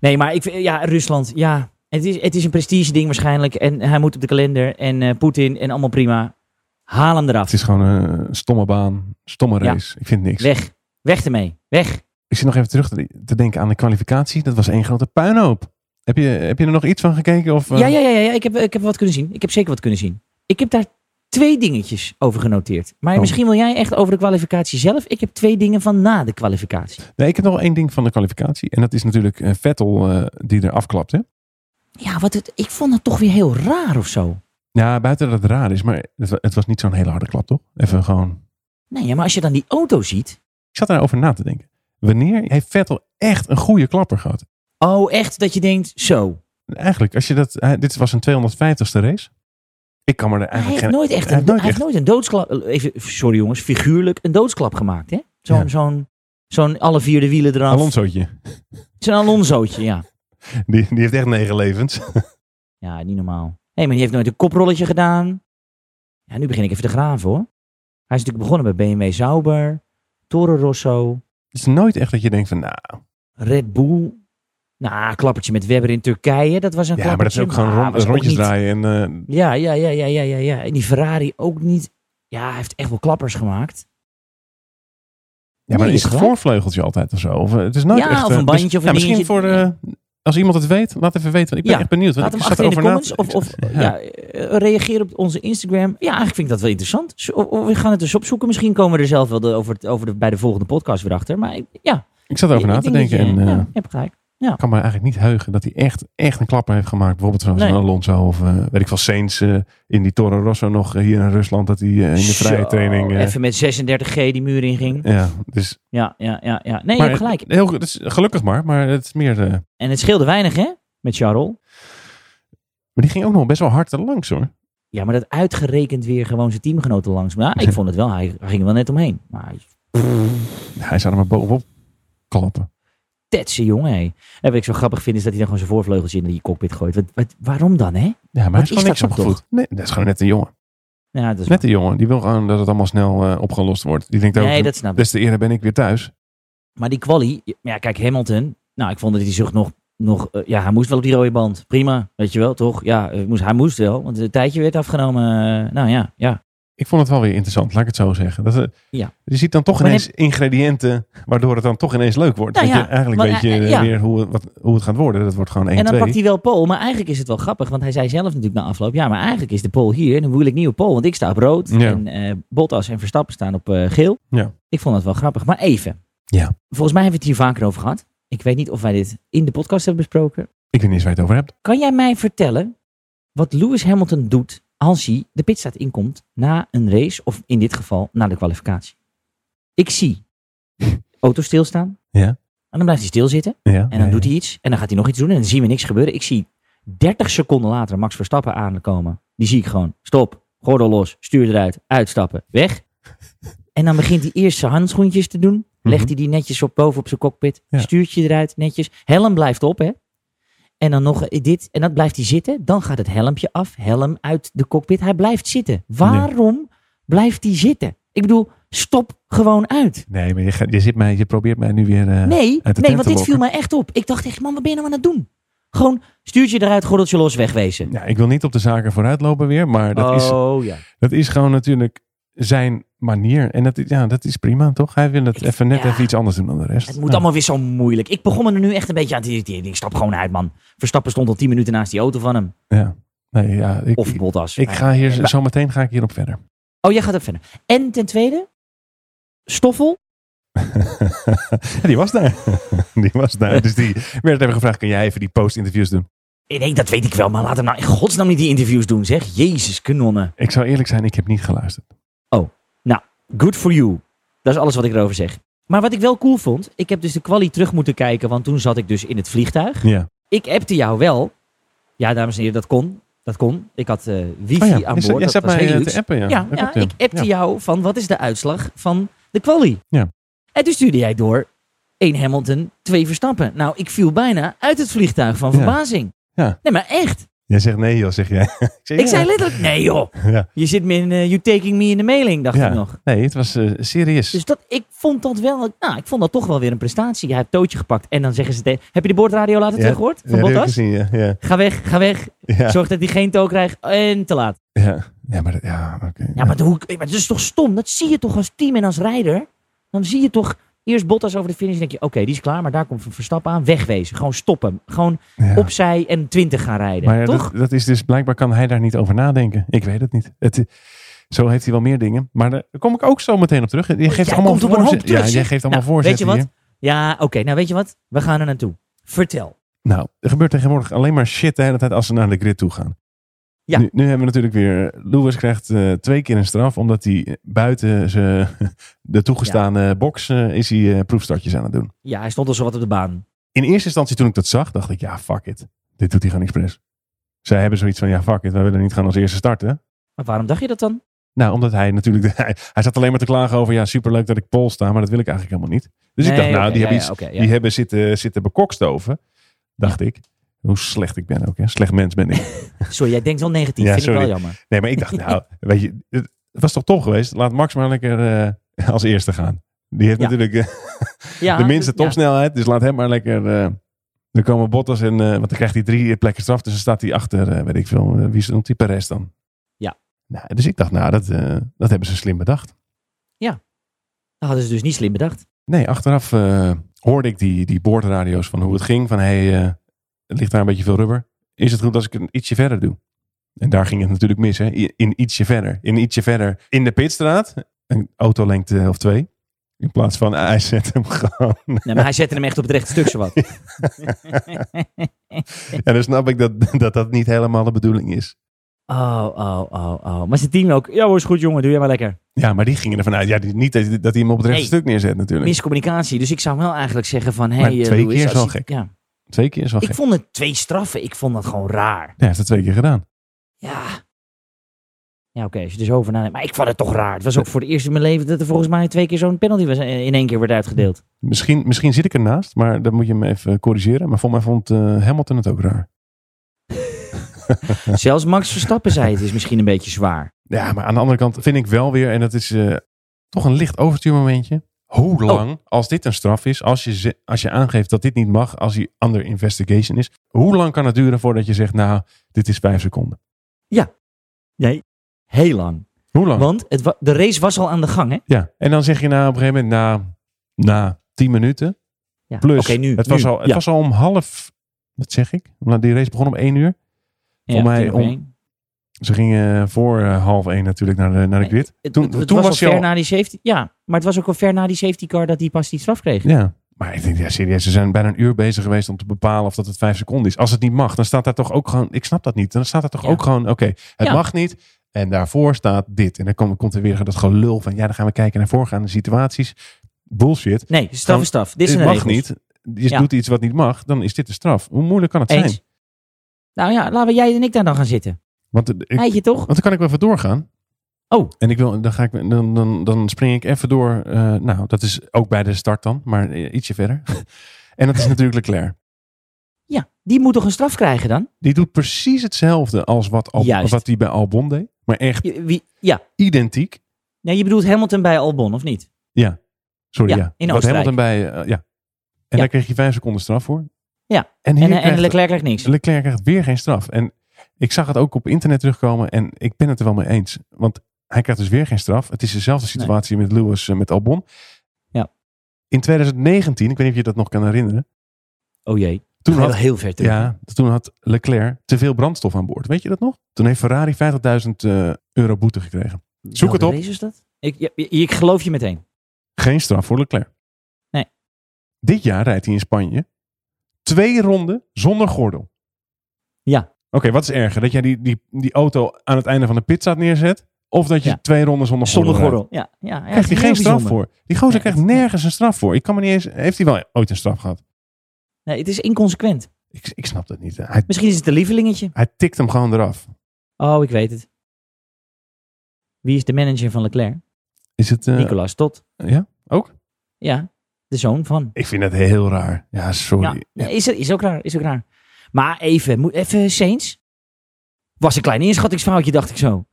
Speaker 1: Nee, maar ik, vind- ja, Rusland, ja. Het is, het is een prestige ding waarschijnlijk. En hij moet op de kalender. En eh, Poetin en allemaal prima. Haal hem eraf.
Speaker 2: Het is gewoon een stomme baan, stomme
Speaker 1: Ja.
Speaker 2: race. Ik vind niks.
Speaker 1: Weg. Weg ermee. Weg.
Speaker 2: Ik zit nog even terug te, te denken aan de kwalificatie. Dat was één grote puinhoop. Heb je, heb je er nog iets van gekeken? Of, eh,
Speaker 1: Ja, ja, ja, ja, ja. Ik, heb, ik heb wat kunnen zien. Ik heb zeker wat kunnen zien. Ik heb daar twee dingetjes over genoteerd. Maar
Speaker 2: Oh.
Speaker 1: misschien wil jij echt over de kwalificatie zelf. Ik heb twee dingen van na de kwalificatie.
Speaker 2: Nee, ik heb nog één ding van de kwalificatie. En dat is natuurlijk eh, Vettel eh, die er afklapt. Hè?
Speaker 1: Ja, wat het, ik vond het toch weer heel raar of zo.
Speaker 2: Ja, buiten dat het raar is. Maar het, wa- het was niet zo'n hele harde klap, toch? Even gewoon...
Speaker 1: Nee, ja, maar als je dan die auto ziet.
Speaker 2: Ik zat daarover na te denken. Wanneer heeft Vettel echt een goede klapper gehad?
Speaker 1: Oh, echt dat je denkt, zo.
Speaker 2: Eigenlijk, als je dat... hij- dit was een 250ste race. Ik kan me er
Speaker 1: Hij
Speaker 2: eigenlijk
Speaker 1: heeft
Speaker 2: geen...
Speaker 1: nooit echt
Speaker 2: hij
Speaker 1: een,
Speaker 2: heeft nooit
Speaker 1: hij heeft nooit een doodsklap. Even, sorry jongens, figuurlijk een doodsklap gemaakt. hè? Zo'n
Speaker 2: Ja.
Speaker 1: zo'n, zootje alle vierde wielen eraf.
Speaker 2: Alonsootje.
Speaker 1: Zo'n Alonsootje, ja.
Speaker 2: Die, die heeft echt negen levens.
Speaker 1: Ja, niet normaal. Hé, maar die heeft nooit een koprolletje gedaan. Ja, nu begin ik even te graven hoor. Hij is natuurlijk begonnen bij BMW Sauber, Toro Rosso,
Speaker 2: Het is nooit echt dat je denkt van... Nou,
Speaker 1: Red Bull. Nou, klappertje met Webber in Turkije, dat was een
Speaker 2: Ja, maar dat is
Speaker 1: klappertje.
Speaker 2: ook gewoon rond-
Speaker 1: Nou, was ook
Speaker 2: rondjes
Speaker 1: niet-
Speaker 2: draaien. En, eh,
Speaker 1: Ja, ja, ja, ja, ja, ja, ja. En die Ferrari ook niet. Ja, hij heeft echt wel klappers gemaakt.
Speaker 2: ja, maar
Speaker 1: Nee,
Speaker 2: is het
Speaker 1: gelijk.
Speaker 2: voorvleugeltje altijd of zo? Of, eh, het is nooit
Speaker 1: Ja,
Speaker 2: echt,
Speaker 1: of
Speaker 2: eh,
Speaker 1: een bandje of een
Speaker 2: ja, misschien
Speaker 1: dingetje.
Speaker 2: voor de, Als iemand het weet, laat even weten. Want ik ben
Speaker 1: Ja,
Speaker 2: echt benieuwd. want
Speaker 1: Laat
Speaker 2: ik
Speaker 1: hem
Speaker 2: zat
Speaker 1: achter in de
Speaker 2: erover na
Speaker 1: comments
Speaker 2: te-
Speaker 1: of, of ja, eh, reageer op onze Instagram. Ja, eigenlijk vind ik dat wel interessant. Zo- of- of we gaan het eens opzoeken. Misschien komen we er zelf wel de, over, het- over de, bij de volgende podcast weer achter. Maar ik- ja,
Speaker 2: Ik zat erover
Speaker 1: Ik-
Speaker 2: na
Speaker 1: ik
Speaker 2: te
Speaker 1: denk
Speaker 2: denken.
Speaker 1: dat
Speaker 2: En
Speaker 1: je-
Speaker 2: eh,
Speaker 1: ja, je hebt gelijk.
Speaker 2: ik kan me eigenlijk niet heugen dat hij echt, echt een klapper heeft gemaakt. Bijvoorbeeld zoals
Speaker 1: Nee.
Speaker 2: een Alonso of eh, weet ik veel, Sainz eh, in die Toro Rosso nog eh, hier in Rusland. Dat hij eh, in de vrije
Speaker 1: Zo,
Speaker 2: training... eh,
Speaker 1: even met 36G die muur inging.
Speaker 2: ja, dus,
Speaker 1: Ja, ja, ja. ja. Nee,
Speaker 2: maar,
Speaker 1: je hebt gelijk.
Speaker 2: Heel, goed, dat is gelukkig maar, maar het is meer... eh,
Speaker 1: En het scheelde weinig, hè? Met Charles.
Speaker 2: maar die ging ook nog best wel hard er langs hoor.
Speaker 1: Ja, maar dat uitgerekend weer gewoon zijn teamgenoten langs. Maar ja, ik vond het wel. Hij ging er wel net omheen. Maar
Speaker 2: Hij zou er maar bovenop klappen.
Speaker 1: tetse jongen, hé. En wat ik zo grappig vind, is dat hij dan gewoon zijn voorvleugeltje in die cockpit gooit. Wat, wat- waarom dan, hè?
Speaker 2: Ja, maar hij
Speaker 1: Wat
Speaker 2: is gewoon
Speaker 1: is
Speaker 2: niks
Speaker 1: dat dan
Speaker 2: opgevoed. Nee, dat is gewoon net een jongen.
Speaker 1: Ja, dat is
Speaker 2: Net een jongen. Die wil gewoon dat het allemaal snel eh, opgelost wordt. Die denkt ook,
Speaker 1: Nee, dat snap ik.
Speaker 2: des te eerder ben ik weer thuis.
Speaker 1: Maar die quali... Ja, kijk, Hamilton. Nou, ik vond dat hij zich nog... nog eh, ja, hij moest wel op die rode band. Prima, weet je wel, toch? Ja, eh, moest, hij moest wel. Want het tijdje werd afgenomen. eh, nou ja, ja.
Speaker 2: Ik vond het wel weer interessant, laat ik het zo zeggen. Dat, eh,
Speaker 1: Ja.
Speaker 2: Je ziet dan toch
Speaker 1: Maar
Speaker 2: ineens ingrediënten waardoor het dan toch ineens leuk wordt.
Speaker 1: Nou
Speaker 2: Want
Speaker 1: ja,
Speaker 2: je, eigenlijk
Speaker 1: maar,
Speaker 2: weet je
Speaker 1: eh,
Speaker 2: eh,
Speaker 1: ja.
Speaker 2: weer hoe, het- wat, hoe het gaat worden. Dat wordt gewoon 1-2.
Speaker 1: En dan pakt hij wel Pol, maar eigenlijk is het wel grappig, want hij zei zelf natuurlijk na afloop, ja, maar eigenlijk is de Pol hier en dan wil ik nieuwe Pol, want ik sta op rood
Speaker 2: Ja.
Speaker 1: en eh, Bottas en Verstappen staan op eh, geel.
Speaker 2: Ja.
Speaker 1: Ik vond dat wel grappig, maar even.
Speaker 2: Ja.
Speaker 1: Volgens mij hebben we het hier vaker over gehad. Ik weet niet of wij dit in de podcast hebben besproken.
Speaker 2: Ik weet niet eens waar je het over hebt.
Speaker 1: Kan jij mij vertellen wat Lewis Hamilton doet als hij de pitstraat inkomt na een race, of in dit geval na de kwalificatie? Ik zie auto stilstaan
Speaker 2: Ja.
Speaker 1: en dan blijft hij stilzitten.
Speaker 2: Ja,
Speaker 1: En dan doet hij iets. En dan gaat hij nog iets doen. En dan zien we niks gebeuren. Ik zie 30 seconden later Max Verstappen aankomen. Die zie ik gewoon. Stop. Gordel los. Stuur eruit. Uitstappen. Weg. En dan begint hij eerst zijn handschoentjes te doen. Legt hij die netjes op boven op zijn cockpit.
Speaker 2: Mhm. Ja.
Speaker 1: Stuurtje eruit, netjes. Helm blijft op, hè. En dan nog eh, dit. En dat blijft hij zitten. Dan gaat het helmpje af. Helm uit de cockpit. Hij blijft zitten. Waarom blijft hij zitten? Ik bedoel, stop gewoon uit.
Speaker 2: Nee, maar je, gaat- je, zit mij, je probeert mij nu weer... eh,
Speaker 1: Nee,
Speaker 2: uit de
Speaker 1: nee want
Speaker 2: tent te
Speaker 1: dit viel
Speaker 2: lokken.
Speaker 1: mij echt op. Ik dacht echt, man, wat ben je nou aan het doen? Gewoon stuurtje eruit, gordeltje los, wegwezen.
Speaker 2: Ja, ik wil niet op de zaken vooruitlopen weer, maar dat, is,
Speaker 1: oh ja.
Speaker 2: dat is gewoon natuurlijk zijn manier. En dat, is- ja, dat is prima, toch? Hij wil het
Speaker 1: Ik-
Speaker 2: even net
Speaker 1: ja.
Speaker 2: even iets anders doen dan de rest.
Speaker 1: Het
Speaker 2: Nou,
Speaker 1: moet allemaal weer zo moeilijk. Ik begon me er nu echt een beetje aan te irriteren. Ik stap gewoon uit, man. Verstappen stond al tien minuten naast die auto van hem.
Speaker 2: Ja. Nee, ja, ik,
Speaker 1: Of
Speaker 2: ik,
Speaker 1: Bottas.
Speaker 2: ik ga hier,
Speaker 1: Ja.
Speaker 2: zometeen ga ik hierop verder.
Speaker 1: Oh, jij gaat ook verder. En ten tweede, Stoffel.
Speaker 2: Ja, die was daar. die was daar. Dus die werd even gevraagd, kan jij even die post-interviews doen?
Speaker 1: Ik denk, dat weet ik wel, maar laat hem nou in godsnaam niet die interviews doen, zeg. Jezus, kanonnen.
Speaker 2: Ik zou eerlijk zijn, ik heb niet geluisterd.
Speaker 1: Good for you. Dat is alles wat ik erover zeg. Maar wat ik wel cool vond, ik heb dus de quali terug moeten kijken, want toen zat ik dus in het vliegtuig.
Speaker 2: Ja.
Speaker 1: Ik appte jou wel. Ja, dames en heren, dat kon. Dat kon. Ik had eh, wifi
Speaker 2: Oh ja,
Speaker 1: aan
Speaker 2: je
Speaker 1: boord.
Speaker 2: zat- Jij
Speaker 1: dat
Speaker 2: zat
Speaker 1: was
Speaker 2: mij
Speaker 1: heel
Speaker 2: eh,
Speaker 1: iets.
Speaker 2: te appen, ja.
Speaker 1: Ja,
Speaker 2: Dat
Speaker 1: ja
Speaker 2: klopt, ja.
Speaker 1: ik appte
Speaker 2: Ja.
Speaker 1: jou van wat is de uitslag van de quali.
Speaker 2: Ja.
Speaker 1: En toen stuurde jij door één Hamilton, twee Verstappen. Nou, ik viel bijna uit het vliegtuig van
Speaker 2: Ja.
Speaker 1: verbazing.
Speaker 2: Ja.
Speaker 1: Nee, maar echt.
Speaker 2: Jij zegt nee, joh, zeg jij.
Speaker 1: Ik zei letterlijk, nee joh,
Speaker 2: ja. Ja.
Speaker 1: je zit me in, eh, you taking me in de mailing, dacht
Speaker 2: Ja.
Speaker 1: ik nog.
Speaker 2: Nee, het was eh, serieus.
Speaker 1: Dus dat, ik vond dat wel, nou, ik vond dat toch wel weer een prestatie. Hij hebt tootje gepakt en dan zeggen ze tegen, heb je de boordradio later
Speaker 2: Ja.
Speaker 1: teruggehoord
Speaker 2: Ja,
Speaker 1: van
Speaker 2: die heb ik
Speaker 1: Bottas?
Speaker 2: gezien, ja. Ja.
Speaker 1: Ga weg, ga weg,
Speaker 2: Ja.
Speaker 1: zorg dat hij geen toon krijgt en te laat.
Speaker 2: Ja. ja, maar dat- ja, oké.
Speaker 1: Ja, maar, hoe, maar dat is toch stom? Dat zie je toch als team en als rijder? Dan zie je toch eerst Bottas over de finish en denk je... oké, die is klaar, maar daar komt Verstappen aan. Wegwezen, gewoon stoppen. Gewoon
Speaker 2: Ja.
Speaker 1: opzij en 20 gaan rijden,
Speaker 2: Maar ja,
Speaker 1: toch?
Speaker 2: dat, dat is dus blijkbaar kan hij daar niet over nadenken. Ik weet het niet. Het, zo heeft hij wel meer dingen. Maar daar kom ik ook zo meteen op terug. Je geeft
Speaker 1: Oh, Jij
Speaker 2: allemaal
Speaker 1: komt op een hoop
Speaker 2: voorzet-
Speaker 1: terug,
Speaker 2: Ja, jij
Speaker 1: zeg.
Speaker 2: geeft allemaal
Speaker 1: Nou, weet je
Speaker 2: voorzetten
Speaker 1: wat?
Speaker 2: hier.
Speaker 1: Ja, oké, nou weet je wat? We gaan er naartoe. Vertel.
Speaker 2: Nou, er gebeurt tegenwoordig alleen maar shit de hele tijd als ze naar de grid toe gaan.
Speaker 1: Ja.
Speaker 2: Nu, nu hebben we natuurlijk weer... Lewis krijgt eh, twee keer een straf omdat hij buiten ze, de toegestane box eh, is hij eh, proefstartjes aan het doen.
Speaker 1: Ja, hij stond al zo wat op de baan.
Speaker 2: In eerste instantie toen ik dat zag, dacht ik, ja, fuck it. Dit doet hij gewoon expres. Zij hebben zoiets van, ja, fuck it, wij willen niet gaan als eerste starten.
Speaker 1: Maar waarom dacht je dat dan?
Speaker 2: Nou, omdat hij natuurlijk. hij, hij zat alleen maar te klagen over. Ja, superleuk dat ik pol sta, maar dat wil ik eigenlijk helemaal niet. Dus ik
Speaker 1: Nee,
Speaker 2: dacht, nou,
Speaker 1: oké,
Speaker 2: die
Speaker 1: ja,
Speaker 2: hebben,
Speaker 1: ja,
Speaker 2: iets,
Speaker 1: oké, ja.
Speaker 2: die hebben zitten, zitten bekokstoven. Dacht ik. Hoe slecht ik ben ook, hè? Slecht mens ben ik.
Speaker 1: Sorry, jij denkt wel negatief.
Speaker 2: Ja,
Speaker 1: vind ik
Speaker 2: sorry.
Speaker 1: wel jammer.
Speaker 2: Nee, maar ik dacht, nou, weet je, het was toch top geweest. Laat Max maar lekker eh, als eerste gaan. Die heeft
Speaker 1: Ja.
Speaker 2: natuurlijk eh,
Speaker 1: Ja,
Speaker 2: de minste
Speaker 1: ja.
Speaker 2: topsnelheid, dus laat hem maar lekker. eh dan komen Bottas en. eh, want dan krijgt hij drie plekken straf, dus dan staat hij achter, eh, weet ik veel. eh, wie stond die Perez dan?
Speaker 1: Ja.
Speaker 2: Nou, dus ik dacht, nou, dat, eh, dat hebben ze slim bedacht.
Speaker 1: Dat hadden ze dus niet slim bedacht.
Speaker 2: Nee, achteraf eh, hoorde ik die, die boordradio's van hoe het ging. Van hé, hey, eh, het ligt daar een beetje veel rubber. Is het goed als ik een ietsje verder doe? En daar ging het natuurlijk mis, hè? I- In ietsje verder. In ietsje verder. In de pitstraat. Een autolengte eh, of twee. In plaats van ah, hij zet hem gewoon.
Speaker 1: Nee, maar hij zette hem echt op het rechte stuk, zowat.
Speaker 2: En dan snap ik dat dat, dat niet helemaal de bedoeling is.
Speaker 1: Oh, oh, oh, oh. Maar zijn team ook. Ja hoor, is goed jongen, doe jij maar lekker.
Speaker 2: Ja, maar die gingen ervan uit. Ja, die, niet dat, dat hij hem op het rechte
Speaker 1: Nee.
Speaker 2: stuk neerzet natuurlijk.
Speaker 1: Miscommunicatie. Dus ik zou wel eigenlijk zeggen van... Hey,
Speaker 2: Maar
Speaker 1: eh,
Speaker 2: twee
Speaker 1: Louis,
Speaker 2: keer is
Speaker 1: als
Speaker 2: wel
Speaker 1: je-
Speaker 2: gek.
Speaker 1: Ja.
Speaker 2: Twee keer is wel
Speaker 1: Ik
Speaker 2: gek.
Speaker 1: vond het twee straffen. Ik vond dat gewoon raar.
Speaker 2: Ja, hij heeft dat twee keer gedaan.
Speaker 1: Ja. Ja, oké, als je er zo over nadenkt. Maar ik vond het toch raar. Het was ook voor het eerst in mijn leven dat er volgens mij twee keer zo'n penalty was, eh, in één keer werd uitgedeeld.
Speaker 2: Misschien, misschien zit ik ernaast, maar dan moet je me even corrigeren. Maar volgens mij vond eh, Hamilton het ook raar.
Speaker 1: Zelfs Max Verstappen zei het is misschien een beetje zwaar.
Speaker 2: Ja, maar aan de andere kant vind ik wel weer, en dat is eh, toch een licht overstuurmomentje.
Speaker 1: Oh.
Speaker 2: Hoe lang, als dit een straf is, als je, ze- als je aangeeft dat dit niet mag, als hij under investigation is, hoe lang kan het duren voordat je zegt, nou, dit is vijf seconden?
Speaker 1: Nee. Heel lang.
Speaker 2: Hoe lang?
Speaker 1: Want het wa- de race was al aan de gang, hè?
Speaker 2: Ja, en dan zeg je nou op een gegeven moment, na, na tien minuten,
Speaker 1: Ja.
Speaker 2: plus,
Speaker 1: Oké, nu.
Speaker 2: het, was
Speaker 1: nu.
Speaker 2: al, het
Speaker 1: Ja.
Speaker 2: was al om half, wat zeg ik? Nou, Die race begon om één uur.
Speaker 1: Ja,
Speaker 2: voor mij
Speaker 1: tien op
Speaker 2: om-
Speaker 1: één.
Speaker 2: Ze gingen voor eh, half één natuurlijk naar de, naar de
Speaker 1: Nee,
Speaker 2: grid.
Speaker 1: Het,
Speaker 2: Toen-
Speaker 1: het- het
Speaker 2: toen
Speaker 1: was,
Speaker 2: was je
Speaker 1: al ver
Speaker 2: al-
Speaker 1: na die safety... Ja, maar het was ook al ver na die safety car dat hij pas die straf kreeg.
Speaker 2: Ja. Maar ik denk, ja, serieus, ze zijn bijna een uur bezig geweest om te bepalen of dat het vijf seconden is. Als het niet mag, dan staat daar toch ook gewoon, ik snap dat niet, dan staat daar toch
Speaker 1: Ja.
Speaker 2: ook gewoon, oké, het
Speaker 1: Ja.
Speaker 2: mag niet. En daarvoor staat dit. En dan komt, komt er weer dat gelul van, ja, dan gaan we kijken naar voorgaande situaties. Bullshit.
Speaker 1: Nee, straf
Speaker 2: Gewoon,
Speaker 1: is straf. Dit is
Speaker 2: het
Speaker 1: een
Speaker 2: mag
Speaker 1: regels.
Speaker 2: niet. Je
Speaker 1: Ja.
Speaker 2: doet iets wat niet mag, dan is dit de straf. Hoe moeilijk kan het
Speaker 1: Eens.
Speaker 2: zijn?
Speaker 1: Nou ja, laten we jij en ik daar dan gaan zitten.
Speaker 2: Want, eh, ik-
Speaker 1: Eitje toch?
Speaker 2: want dan kan ik wel even doorgaan.
Speaker 1: Oh.
Speaker 2: En ik wil, dan, ga ik, dan, dan, dan spring ik even door. eh, nou, dat is ook bij de start dan, maar eh, ietsje verder. en dat is natuurlijk Leclerc.
Speaker 1: Ja, die moet toch een straf krijgen dan?
Speaker 2: Die doet precies hetzelfde als wat, Al,
Speaker 1: Juist.
Speaker 2: wat hij bij Albon deed. Maar echt
Speaker 1: Je- wie, ja.
Speaker 2: identiek.
Speaker 1: Nee, je bedoelt Hamilton bij Albon, of niet?
Speaker 2: Sorry,
Speaker 1: Ja,
Speaker 2: ja.
Speaker 1: in
Speaker 2: Wat
Speaker 1: Oostenrijk.
Speaker 2: Hamilton bij, eh, ja. En
Speaker 1: Ja.
Speaker 2: daar kreeg je vijf seconden straf voor.
Speaker 1: Ja.
Speaker 2: En, hier
Speaker 1: En, eh,
Speaker 2: krijgt,
Speaker 1: en Leclerc krijgt niks.
Speaker 2: Leclerc krijgt weer geen straf. En ik zag het ook op internet terugkomen en ik ben het er wel mee eens. Want hij krijgt dus weer geen straf. Het is dezelfde situatie met Lewis eh, met Albon.
Speaker 1: Ja.
Speaker 2: In 2019, ik weet niet of je dat nog kan herinneren.
Speaker 1: Oh jee.
Speaker 2: Toen
Speaker 1: Ga je
Speaker 2: had,
Speaker 1: wel heel ver terug.
Speaker 2: ja, toen had Leclerc te veel brandstof aan boord. Weet je dat nog? Toen heeft Ferrari 50.000 eh, euro boete gekregen. Zoek het
Speaker 1: Welke
Speaker 2: op.
Speaker 1: race is dat? Ik, ja, ik geloof je meteen.
Speaker 2: Geen straf voor Leclerc.
Speaker 1: Nee.
Speaker 2: Dit jaar rijdt hij in Spanje twee ronden zonder gordel.
Speaker 1: Ja.
Speaker 2: Oké, wat is erger? Dat jij die, die, die auto aan het einde van de pitstraat neerzet? Of dat je
Speaker 1: Ja.
Speaker 2: twee ronden zonder gordel
Speaker 1: Zonder
Speaker 2: rijdt?
Speaker 1: gordel. Ja, ja, ja,
Speaker 2: Krijgt hij
Speaker 1: heel
Speaker 2: geen straf
Speaker 1: bijzonder.
Speaker 2: voor. Die gozer
Speaker 1: Nee,
Speaker 2: krijgt
Speaker 1: het-
Speaker 2: nergens een straf voor. Ik kan me niet eens... Heeft hij wel ooit een straf gehad?
Speaker 1: Nee, het is inconsequent.
Speaker 2: Ik, ik snap dat niet. Hij,
Speaker 1: Misschien is het een lievelingetje.
Speaker 2: hij tikt hem gewoon eraf.
Speaker 1: Oh, ik weet het. Wie is de manager van Leclerc?
Speaker 2: Is het... eh,
Speaker 1: Nicolas Tot.
Speaker 2: ja? Ook?
Speaker 1: Ja, de zoon van.
Speaker 2: Ik vind dat heel raar. Ja,
Speaker 1: Ja,
Speaker 2: sorry. Ja.
Speaker 1: nee, Is, is ook raar, is ook raar. Maar even, moet- even Saints. Was een klein inschattingsfoutje, dacht ik zo.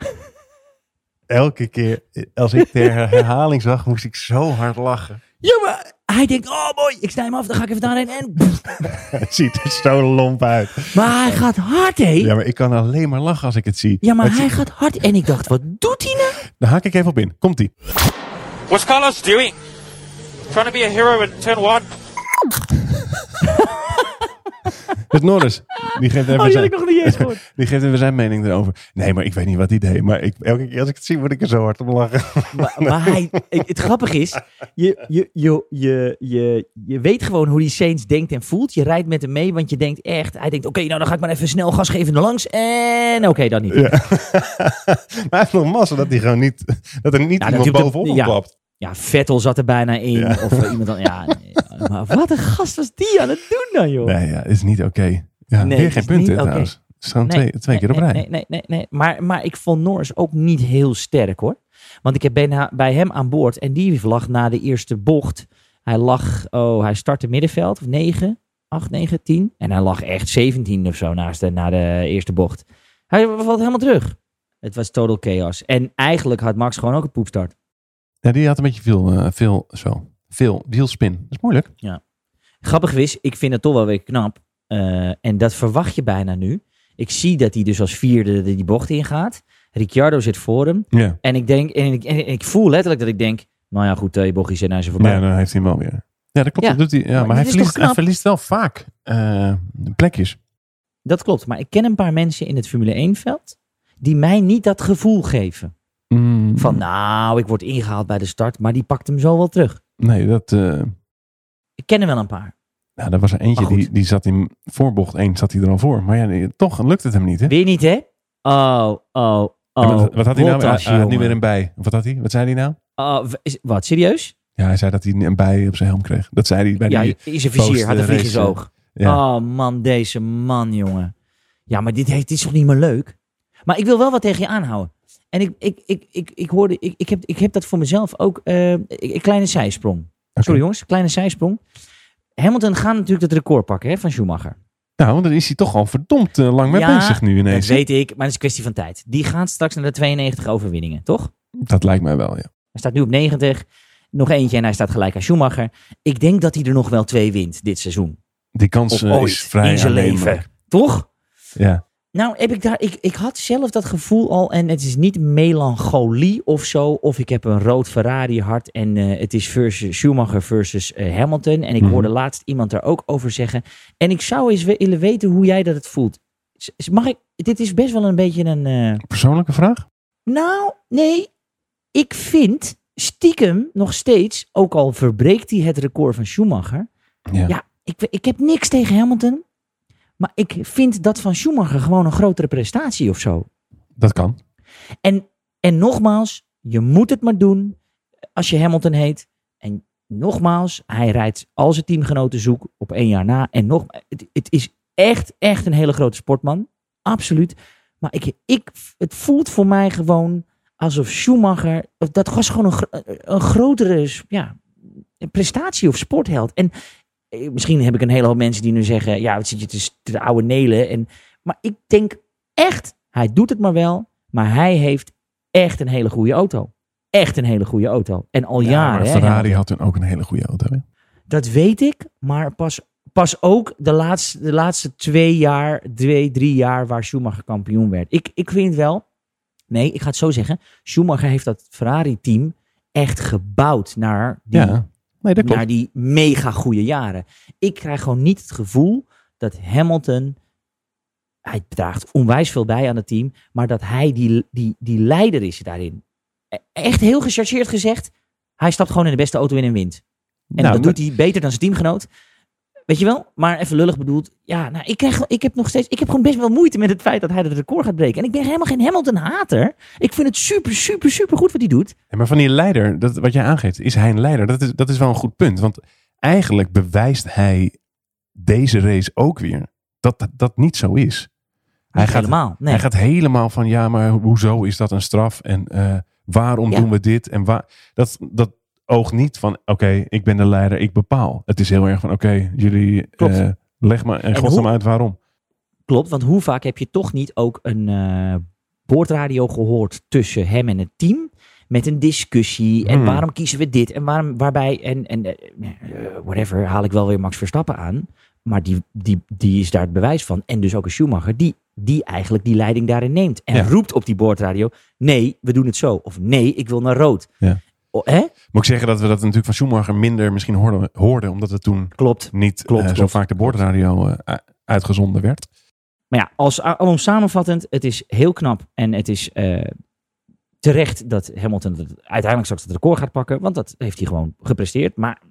Speaker 2: Elke keer als ik de herhaling zag, moest ik zo hard lachen.
Speaker 1: Ja, maar hij denkt, oh mooi, ik snij hem af, dan ga ik even daarheen. En...
Speaker 2: Het ziet er zo lomp uit.
Speaker 1: Maar hij gaat hard, hé.
Speaker 2: Ja, maar ik kan alleen maar lachen als ik het zie.
Speaker 1: Ja, maar
Speaker 2: Het-
Speaker 1: hij gaat hard. En ik dacht, wat doet hij nou?
Speaker 2: Daar haak ik even op in. Komt-ie.
Speaker 3: What's Carlos doing? Trying to be a hero in turn one.
Speaker 2: Het Dus Norris. Die geeft even, zijn,
Speaker 1: nog niet eens gehoord.
Speaker 2: die geeft even zijn mening erover. Nee, maar ik weet niet wat hij deed. Maar ik, elke keer als ik het zie, word ik er zo hard om lachen.
Speaker 1: maar, maar hij, ik- het grappige is, je, je, je, je, je, je weet gewoon hoe die Saints denkt en voelt. Je rijdt met hem mee, want je denkt echt, hij denkt, oké, nou dan ga ik maar even snel gas geven naar langs. En oké, dan niet.
Speaker 2: Ja. maar hij heeft nog massa dat hij gewoon niet... Dat er niet
Speaker 1: Ja,
Speaker 2: iemand
Speaker 1: natuurlijk de-
Speaker 2: bovenop
Speaker 1: ja.
Speaker 2: hem klapt.
Speaker 1: Ja, Vettel zat er bijna in.
Speaker 2: Ja.
Speaker 1: Of eh, iemand dan, ja. nee, eh, Maar wat een gast was die aan het doen dan, joh.
Speaker 2: Nee, ja, is niet oké. Ja,
Speaker 1: Nee,
Speaker 2: weer
Speaker 1: is
Speaker 2: geen
Speaker 1: niet
Speaker 2: punten
Speaker 1: oké.
Speaker 2: trouwens. Het is gewoon
Speaker 1: Nee,
Speaker 2: twee, twee keer op
Speaker 1: nee,
Speaker 2: rij.
Speaker 1: Nee, nee, nee, nee. Maar, maar ik vond Norris ook niet heel sterk hoor. Want ik heb bijna bij hem aan boord en die lag na de eerste bocht. Hij lag, oh, hij startte middenveld, of 9, 8, 9, 10. En hij lag echt 17 of zo naast de, na de eerste bocht. Hij valt helemaal terug. Het was total chaos. En eigenlijk had Max gewoon ook een poepstart.
Speaker 2: Ja, die had een beetje veel, eh, veel, zo, veel wielspin. Dat is moeilijk.
Speaker 1: Grappig wist, ik vind het toch wel weer knap. Eh, en dat verwacht je bijna nu. Ik zie dat hij dus als vierde die bocht ingaat. Ricciardo zit voor hem.
Speaker 2: Ja.
Speaker 1: En ik denk, en ik, en ik voel letterlijk dat ik denk, nou ja, goed, eh bochies en hij is er voorbij.
Speaker 2: Maar ja, dan heeft hij hem wel weer. Ja, dat klopt.
Speaker 1: Ja.
Speaker 2: dat doet hij, ja,
Speaker 1: Maar dit
Speaker 2: maar hij
Speaker 1: is
Speaker 2: verliest,
Speaker 1: toch knap?
Speaker 2: hij verliest wel vaak eh, plekjes.
Speaker 1: Dat klopt, maar ik ken een paar mensen in het Formule 1-veld die mij niet dat gevoel geven.
Speaker 2: Mm,
Speaker 1: Van, nou, ik word ingehaald bij de start, maar die pakt hem zo wel terug.
Speaker 2: Nee, dat, eh,
Speaker 1: Ik ken er wel een paar.
Speaker 2: nou, daar was er eentje
Speaker 1: Maar goed.
Speaker 2: die, die zat in voorbocht 1, zat hij er al voor. Maar ja, nee, toch lukt het hem niet. Hè?
Speaker 1: Weer niet, hè? Oh, oh,
Speaker 2: Ja, maar
Speaker 1: oh.
Speaker 2: wat, wat had hij nou? Hij-
Speaker 1: Bottas,
Speaker 2: Hij, had nu
Speaker 1: jongen.
Speaker 2: weer een bij. Of Wat had hij? Wat zei hij nou?
Speaker 1: Oh, w- is- wat, serieus?
Speaker 2: Ja, hij zei dat hij een bij op zijn helm kreeg. Dat zei hij bij
Speaker 1: Ja,
Speaker 2: die...
Speaker 1: in zijn vizier had een
Speaker 2: post, eh,
Speaker 1: vlieg in zijn
Speaker 2: race,
Speaker 1: oog.
Speaker 2: ja.
Speaker 1: Oh man, deze man, jongen. Ja, maar dit, dit is toch niet meer leuk? Maar ik wil wel wat tegen je aanhouden. En ik, ik, ik, ik, ik hoorde, ik, ik, heb, ik heb dat voor mezelf ook, eh, een- een kleine zijsprong. Sorry jongens, kleine zijsprong. Hamilton gaat natuurlijk het record pakken hè, van Schumacher.
Speaker 2: Nou, want dan is hij toch al verdomd eh, lang mee
Speaker 1: Ja,
Speaker 2: bezig nu
Speaker 1: dat
Speaker 2: ineens. Dat,
Speaker 1: weet ik, maar het is een kwestie van tijd. Die gaat straks naar de 92 overwinningen, toch?
Speaker 2: lijkt mij wel, ja.
Speaker 1: Hij staat nu op 90. Nog eentje en hij staat gelijk aan Schumacher. Ik denk dat hij er nog wel twee wint dit seizoen.
Speaker 2: Die kans
Speaker 1: Of
Speaker 2: eh,
Speaker 1: ooit
Speaker 2: is vrij
Speaker 1: in zijn
Speaker 2: aannemelijk.
Speaker 1: leven. Toch?
Speaker 2: Ja.
Speaker 1: Nou, heb ik daar. Ik, ik had zelf dat gevoel al. En het is niet melancholie of zo. Of ik heb een rood Ferrari hart. En eh, het is versus Schumacher versus eh, Hamilton. En ik
Speaker 2: Mhm.
Speaker 1: hoorde laatst iemand daar ook over zeggen. En ik zou eens willen weten hoe jij dat het voelt. S- s- Mag ik. Dit is best wel een beetje een. eh,
Speaker 2: Persoonlijke vraag?
Speaker 1: Nou, nee. Ik vind stiekem nog steeds. Ook al verbreekt hij het record van Schumacher.
Speaker 2: Ja.
Speaker 1: Ja, ik, ik heb niks tegen Hamilton. Maar ik vind dat van Schumacher gewoon een grotere prestatie of zo.
Speaker 2: Dat kan.
Speaker 1: En, en nogmaals, je moet het maar doen als je Hamilton heet. En nogmaals, hij rijdt al zijn teamgenoten zoek op één jaar na. En nog, het, het is echt, echt een hele grote sportman. Absoluut. Maar ik, ik, het voelt voor mij gewoon alsof Schumacher. Dat was gewoon een, gro- een grotere ja, prestatie of sportheld. En eh, misschien heb ik een hele hoop mensen die nu zeggen: ja, wat zit je te, te oude nelen. En, maar ik denk echt, hij doet het maar wel. Maar hij heeft echt een hele goede auto. Echt een hele goede auto. En al jaren. hè,
Speaker 2: Ferrari had toen ook een hele goede auto. hè?
Speaker 1: dat weet ik, maar pas, pas ook de laatste, de laatste twee jaar, twee, drie jaar waar Schumacher kampioen werd. Ik, ik vind wel, nee, ik ga het zo zeggen. Schumacher heeft dat Ferrari-team echt gebouwd naar die,
Speaker 2: Ja, nee, dat klopt.
Speaker 1: naar die mega goede jaren. Ik krijg gewoon niet het gevoel dat Hamilton, hij draagt onwijs veel bij aan het team, maar dat hij die, die, die leider is daarin. E- Echt heel gechargeerd gezegd, hij stapt gewoon in de beste auto in en wint. En
Speaker 2: Nou,
Speaker 1: dat doet hij beter dan zijn teamgenoot. Weet je wel? Maar even lullig bedoeld. Ja, nou, ik, krijg, ik heb nog steeds. Ik heb gewoon best wel moeite met het feit dat hij het record gaat breken. En ik ben helemaal geen Hamilton-hater. Ik vind het super, super, super goed wat hij doet.
Speaker 2: Ja, maar van die leider, dat, wat jij aangeeft, is hij een leider? Dat is, dat is wel een goed punt. Want eigenlijk bewijst hij deze race ook weer dat dat, dat niet zo is. Hij
Speaker 1: Niet
Speaker 2: gaat,
Speaker 1: helemaal. Nee.
Speaker 2: hij gaat helemaal van ja, maar hoezo is dat een straf? En eh, waarom
Speaker 1: Ja.
Speaker 2: doen we dit? En waar, dat, dat oogt niet van oké, ik ben de leider, ik bepaal. Het is heel erg van oké, jullie
Speaker 1: Klopt.
Speaker 2: eh, leg maar en
Speaker 1: En
Speaker 2: godsnaam
Speaker 1: hoe-
Speaker 2: uit waarom.
Speaker 1: Klopt, want hoe vaak heb je toch niet ook een eh, boordradio gehoord tussen hem en het team? Met een discussie. En
Speaker 2: Hmm.
Speaker 1: waarom kiezen we dit? En waarom, waarbij, en, en eh, eh, whatever, haal ik wel weer Max Verstappen aan. Maar die, die, die is daar het bewijs van. En dus ook een Schumacher, die, die eigenlijk die leiding daarin neemt. En
Speaker 2: Ja.
Speaker 1: roept op die boordradio: nee, we doen het zo. Of nee, ik wil naar rood.
Speaker 2: Ja.
Speaker 1: O, hè?
Speaker 2: Moet ik zeggen dat we dat natuurlijk van Schumacher minder misschien hoorden, hoorden omdat het toen
Speaker 1: Klopt.
Speaker 2: niet
Speaker 1: Klopt,
Speaker 2: eh, zo
Speaker 1: klopt.
Speaker 2: vaak de boordradio eh, u- uitgezonden werd.
Speaker 1: Maar ja, als, alom samenvattend, het is heel knap en het is eh, terecht dat Hamilton het uiteindelijk straks het record gaat pakken, want dat heeft hij gewoon gepresteerd. Maar,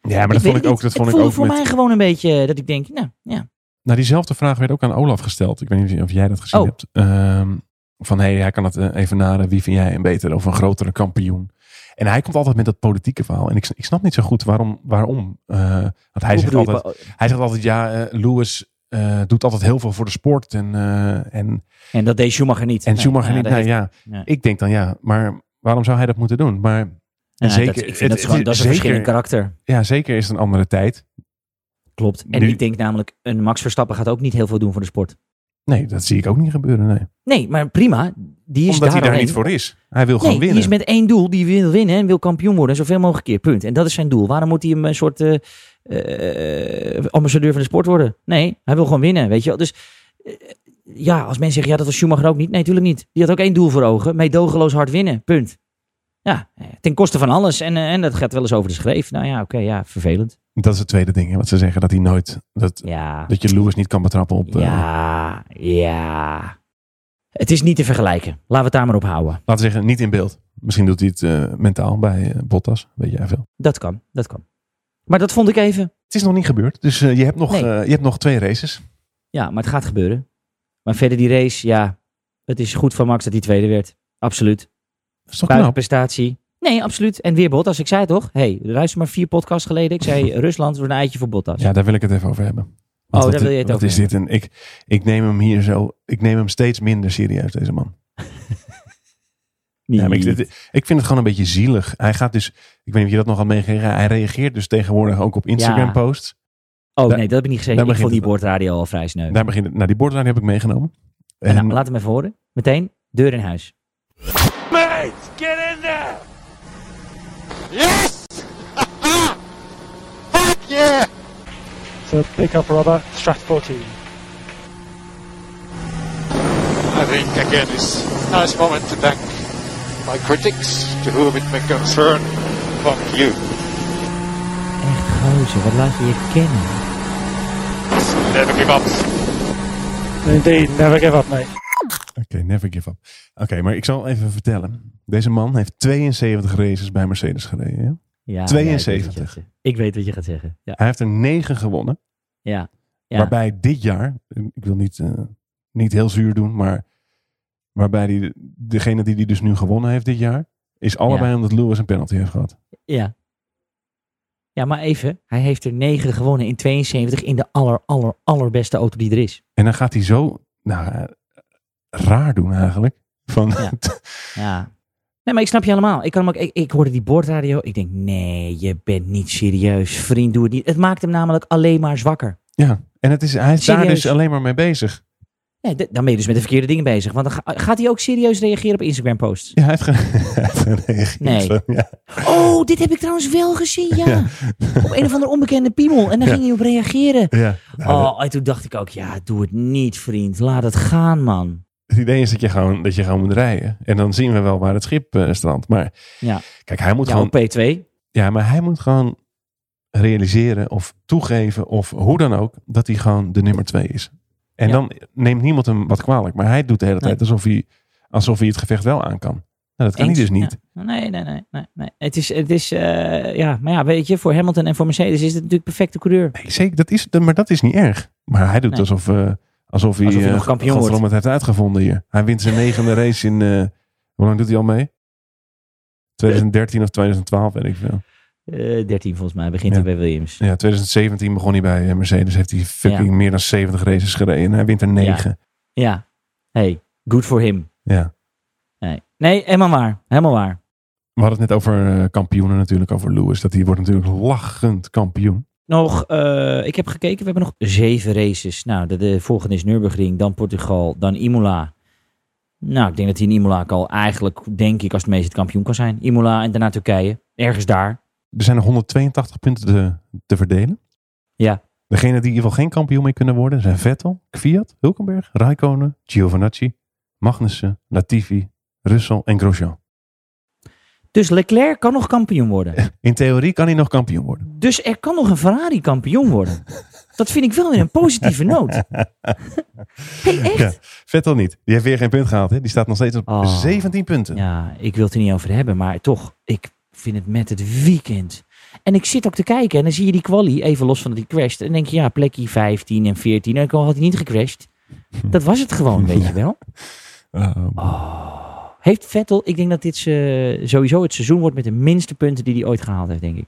Speaker 2: Ja, maar dat vond
Speaker 1: weet
Speaker 2: ik ook.
Speaker 1: niet,
Speaker 2: Dat vond
Speaker 1: het
Speaker 2: ik
Speaker 1: voelde
Speaker 2: ook
Speaker 1: voor
Speaker 2: met,
Speaker 1: mij gewoon een beetje eh, dat ik denk, nou ja,
Speaker 2: Nou, diezelfde vraag werd ook aan Olaf gesteld. Ik weet niet of jij dat gezien
Speaker 1: Oh.
Speaker 2: hebt. Ehm, van hé, hey, hij kan het eh, even naden. Wie vind jij een betere of een grotere kampioen? En hij komt altijd met dat politieke verhaal. En ik, ik snap niet zo goed waarom. waarom. Eh, want hij
Speaker 1: hoe
Speaker 2: zegt,
Speaker 1: bedoel je
Speaker 2: altijd,
Speaker 1: pa-
Speaker 2: hij zegt altijd: ja, eh, Lewis eh, doet altijd heel veel voor de sport. En, eh, en
Speaker 1: en dat deed Schumacher niet.
Speaker 2: En
Speaker 1: Nee,
Speaker 2: Schumacher
Speaker 1: ja,
Speaker 2: niet.
Speaker 1: dat
Speaker 2: Nou
Speaker 1: heeft-
Speaker 2: ja,
Speaker 1: nee.
Speaker 2: ik denk dan ja, maar waarom zou hij dat moeten doen? Maar
Speaker 1: ja,
Speaker 2: zeker-
Speaker 1: dat, ik
Speaker 2: het-
Speaker 1: vind dat,
Speaker 2: het
Speaker 1: is gewoon,
Speaker 2: is
Speaker 1: dat is een
Speaker 2: zeker-
Speaker 1: verschil in karakter.
Speaker 2: ja, zeker is het een andere tijd.
Speaker 1: Klopt. En
Speaker 2: Nu-
Speaker 1: ik denk namelijk, een Max Verstappen gaat ook niet heel veel doen voor de sport.
Speaker 2: Nee, dat zie ik ook niet gebeuren. Nee.
Speaker 1: Nee, maar prima. Die is
Speaker 2: Omdat hij daar
Speaker 1: alleen.
Speaker 2: niet voor is. Hij wil
Speaker 1: Nee,
Speaker 2: gewoon winnen.
Speaker 1: die is met één doel. Die wil winnen en wil kampioen worden. Zoveel mogelijk keer. Punt. En dat is zijn doel. Waarom moet hij een eh, soort eh, eh, ambassadeur van de sport worden? Nee, hij wil gewoon winnen. Weet je wel. Dus eh, ja, als mensen zeggen, ja, dat was Schumacher ook niet. Nee, natuurlijk niet. Die had ook één doel voor ogen. Meedogenloos hard winnen. Punt. Ja, eh, ten koste van alles. En, eh, en dat gaat wel eens over de schreef. Nou ja, oké, ja, vervelend.
Speaker 2: Dat is het tweede ding. hè, Wat ze zeggen dat hij nooit. Dat,
Speaker 1: Ja,
Speaker 2: dat je Lewis niet kan betrappen op. eh,
Speaker 1: ja, ja. Het is niet te vergelijken. Laten we het daar maar op houden.
Speaker 2: laten we zeggen, niet in beeld. Misschien doet hij het eh, mentaal bij eh, Bottas. Weet jij veel.
Speaker 1: Dat kan, dat kan. Maar dat vond ik even.
Speaker 2: Het is nog niet gebeurd. Dus eh, je, hebt nog,
Speaker 1: Nee.
Speaker 2: eh, je hebt nog twee races.
Speaker 1: Ja, maar het gaat gebeuren. Maar verder die race, ja, het is goed van Max dat hij tweede werd. Absoluut.
Speaker 2: Dat is toch knap.
Speaker 1: Buitenprestatie. Nee, absoluut. En weer Bottas. Ik zei het toch? hey, luister maar vier podcasts geleden. Ik zei Rusland wordt een eitje voor Bottas.
Speaker 2: Ja, daar wil ik het even over hebben. Want
Speaker 1: Oh, daar
Speaker 2: wat-
Speaker 1: wil je het
Speaker 2: wat
Speaker 1: over
Speaker 2: is dit? En ik, ik neem hem hier zo. Ik neem hem steeds minder serieus, deze man.
Speaker 1: Niet.
Speaker 2: Ja, maar ik, dit- ik vind het gewoon een beetje zielig. Hij gaat dus. Ik weet niet of je dat nog had meegekregen. Hij reageert dus tegenwoordig ook op Instagram-posts.
Speaker 1: oh
Speaker 2: daar-
Speaker 1: nee, dat heb ik niet gezegd.
Speaker 2: daar
Speaker 1: Ik vond die
Speaker 2: begint
Speaker 1: boordradio al vrij sneu.
Speaker 2: Daar begint het. Nou, die borderline heb ik meegenomen. En,
Speaker 1: Nou, laat hem even horen. Meteen, deur in huis.
Speaker 3: Mates, get in there! Yes! Fuck yeah!
Speaker 4: So pick up Robert, Strat 14.
Speaker 5: I think again it's a nice moment to thank my critics, to whom it may concern. Fuck you.
Speaker 1: Echt gozer, wat laat je je kennen.
Speaker 5: Never give up.
Speaker 4: Indeed, never give up, mate.
Speaker 2: Oké, never give up. Oké, maar ik zal even vertellen. Deze man heeft 72 races bij Mercedes gereden. hè?
Speaker 1: Ja, ja,
Speaker 2: 72.
Speaker 1: ik weet wat je gaat zeggen. ik weet wat je gaat zeggen. Ja.
Speaker 2: Hij heeft er 9 gewonnen.
Speaker 1: ja. Ja.
Speaker 2: Waarbij dit jaar, ik wil niet, eh, niet heel zuur doen, maar waarbij die, degene die die dus nu gewonnen heeft dit jaar, is allebei omdat Lewis een penalty heeft gehad.
Speaker 1: Ja. Ja, maar even. Hij heeft er 9 gewonnen in 72 in de aller, aller, allerbeste auto die er is.
Speaker 2: En dan gaat hij zo nou, eh, raar doen eigenlijk. Van,
Speaker 1: Ja. Ja. Nee, maar ik snap je helemaal. Ik, kan hem ook, ik, ik hoorde die boordradio. Ik denk, nee, je bent niet serieus. Vriend, doe het niet. Het maakt hem namelijk alleen maar zwakker.
Speaker 2: Ja, en het is, hij is daar
Speaker 1: Serieus?
Speaker 2: dus alleen maar mee bezig.
Speaker 1: Nee, d- dan ben je dus met de verkeerde dingen bezig. Want dan ga- gaat hij ook serieus reageren op Instagram-posts.
Speaker 2: Ja, hij heeft, ge- hij heeft gereageerd.
Speaker 1: Nee.
Speaker 2: Ja.
Speaker 1: Oh, dit heb ik trouwens wel gezien, ja.
Speaker 2: Ja.
Speaker 1: Op een of andere onbekende piemel. En daar
Speaker 2: Ja.
Speaker 1: ging hij op reageren.
Speaker 2: Ja. Nou,
Speaker 1: Oh, en toen dacht ik ook, ja, doe het niet, vriend. Laat het gaan, man.
Speaker 2: Het idee is dat je, gewoon, dat je gewoon moet rijden. En dan zien we wel waar het schip eh, strandt. Maar
Speaker 1: Ja.
Speaker 2: kijk, hij moet
Speaker 1: Ja,
Speaker 2: gewoon
Speaker 1: op P2.
Speaker 2: Ja, maar hij moet gewoon realiseren of toegeven of hoe dan ook dat hij gewoon de nummer twee is. En
Speaker 1: Ja.
Speaker 2: dan neemt niemand hem wat kwalijk, maar hij doet de hele tijd alsof hij, alsof hij het gevecht wel aan kan. Nou, dat kan
Speaker 1: Eens,
Speaker 2: hij dus niet.
Speaker 1: ja. Nee, nee, nee, nee, nee. Het is, het is eh, ja, maar ja, weet je, voor Hamilton en voor Mercedes is het natuurlijk perfecte coureur.
Speaker 2: Nee, zeker, dat is, maar dat is niet erg. Maar hij doet
Speaker 1: Nee.
Speaker 2: alsof, eh, alsof hij,
Speaker 1: Alsof hij
Speaker 2: eh,
Speaker 1: nog kampioen
Speaker 2: godverdomme,
Speaker 1: wordt.
Speaker 2: het heeft uitgevonden hier. Hij wint zijn negende race in, eh, hoe lang doet hij al mee? 2013 of 2012, weet ik veel.
Speaker 1: Eh 13 volgens mij begint
Speaker 2: Ja.
Speaker 1: hij bij Williams.
Speaker 2: Ja, 2017 begon hij bij eh, Mercedes. Heeft hij fucking meer dan 70 races gereden. En hij wint er 9.
Speaker 1: Ja, hey, good for him.
Speaker 2: ja.
Speaker 1: Nee, nee helemaal waar, helemaal waar.
Speaker 2: We hadden het net over eh, kampioenen natuurlijk, over Lewis. Dat hij wordt natuurlijk lachend kampioen.
Speaker 1: Nog, eh, ik heb gekeken, we hebben nog zeven races. Nou, de, de volgende is Nürburgring, dan Portugal, dan Imola. Nou, ik denk dat hij in Imola al eigenlijk, denk ik, als het meest het kampioen kan zijn. Imola en daarna Turkije, ergens daar.
Speaker 2: Er zijn nog 182 punten te, te verdelen.
Speaker 1: Ja.
Speaker 2: Degene die in ieder geval geen kampioen mee kunnen worden zijn Vettel, Kviat, Hulkenberg, Raikkonen, Giovinazzi, Magnussen, Latifi, Russell en Grosjean.
Speaker 1: Dus Leclerc kan nog kampioen worden.
Speaker 2: In theorie kan hij nog kampioen worden.
Speaker 1: Dus er kan nog een Ferrari kampioen worden. Dat vind ik wel weer een positieve noot. hey,
Speaker 2: Ja,
Speaker 1: echt?
Speaker 2: Vettel niet. Die heeft weer geen punt gehaald. Hè? Die staat nog steeds op
Speaker 1: Oh.
Speaker 2: 17 punten.
Speaker 1: Ja, ik wil het er niet over hebben, maar toch, ik vind het met het weekend. En ik zit ook te kijken en dan zie je die quali, even los van dat die crasht. En denk je, ja, plekje 15 en 14. En dan had hij niet gecrashed. Dat was het gewoon, weet je wel.
Speaker 2: Oh,
Speaker 1: Heeft Vettel, ik denk dat dit eh, sowieso het seizoen wordt met de minste punten die hij ooit gehaald heeft, denk ik.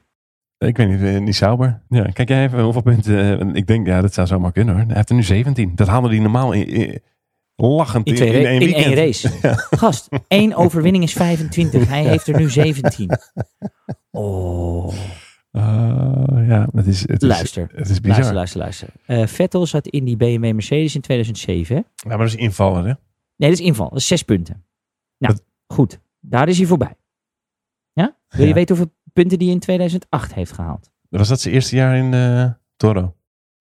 Speaker 2: Ik weet niet, eh, niet sauber. Ja, kijk jij even hoeveel punten. eh, want ik denk, ja, dat zou zomaar kunnen hoor. Hij heeft er nu 17. Dat haalde hij normaal in, in- lachend
Speaker 1: In,
Speaker 2: in,
Speaker 1: twee
Speaker 2: in
Speaker 1: ra-
Speaker 2: één
Speaker 1: in
Speaker 2: weekend.
Speaker 1: één race. Gast, één overwinning is 25. Hij heeft er nu 17. Oh.
Speaker 2: Ah, ja, het is, het is,
Speaker 1: Luister.
Speaker 2: Het is bizar.
Speaker 1: Luister, luister, luister. Eh, Vettel zat in die BMW Mercedes in 2007. hè?
Speaker 2: Ja, maar dat is invallen, hè?
Speaker 1: Nee, dat is inval. Dat is zes punten. Nou,
Speaker 2: Dat-
Speaker 1: goed. Daar is hij voorbij. Ja? Wil je
Speaker 2: Ja.
Speaker 1: weten hoeveel punten hij in 2008 heeft gehaald?
Speaker 2: Was dat zijn eerste jaar in eh, Toro?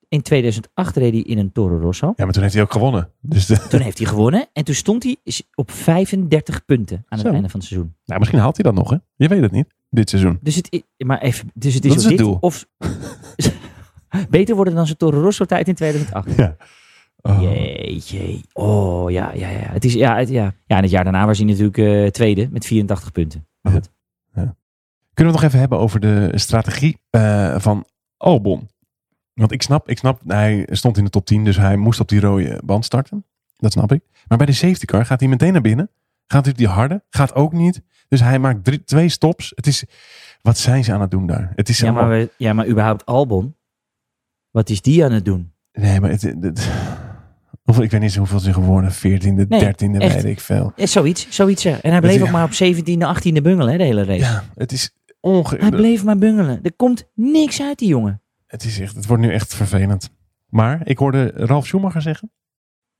Speaker 1: In 2008 reed hij in een Toro Rosso.
Speaker 2: Ja, maar toen heeft hij ook gewonnen. Dus de-
Speaker 1: Toen heeft hij gewonnen. En toen stond hij is- op 35 punten aan het
Speaker 2: Zo.
Speaker 1: einde van het seizoen.
Speaker 2: nou, misschien haalt hij dat nog, hè? Je weet het niet. Dit seizoen.
Speaker 1: Dus het, i- maar even, dus het is,
Speaker 2: Dat is
Speaker 1: of
Speaker 2: het
Speaker 1: dit
Speaker 2: doel.
Speaker 1: Of, beter worden dan zijn Toro Rosso tijd in 2008.
Speaker 2: Ja. Oh.
Speaker 1: Jeetje. Oh, ja, ja, ja. Het is, ja, het, ja. ja, en het jaar daarna was hij natuurlijk eh, tweede met 84 punten. Maar goed.
Speaker 2: Kunnen we het nog even hebben over de strategie eh, van Albon? Want ik snap, ik snap, hij stond in de top 10, dus hij moest op die rode band starten. Dat snap ik. Maar bij de safety car gaat hij meteen naar binnen. Gaat hij op die harde? Gaat ook niet. Dus hij maakt drie, twee stops. Het is, wat zijn ze aan het doen daar? Het is
Speaker 1: Ja, maar,
Speaker 2: helemaal-
Speaker 1: we- ja, maar überhaupt Albon. Wat is die aan het doen?
Speaker 2: Nee, maar het, het- hoeveel, ik weet niet eens hoeveel ze geworden. 14e,
Speaker 1: Nee,
Speaker 2: 13e,
Speaker 1: echt.
Speaker 2: weet ik veel.
Speaker 1: Eh, Zoiets, zoiets. ja. En hij bleef
Speaker 2: is-
Speaker 1: ook maar op 17e, 18e bungelen hè, de hele race.
Speaker 2: Ja, het is onge...
Speaker 1: Hij bleef maar bungelen. Er komt niks uit die jongen.
Speaker 2: Het, is echt, het wordt nu echt vervelend. Maar ik hoorde Ralf Schumacher zeggen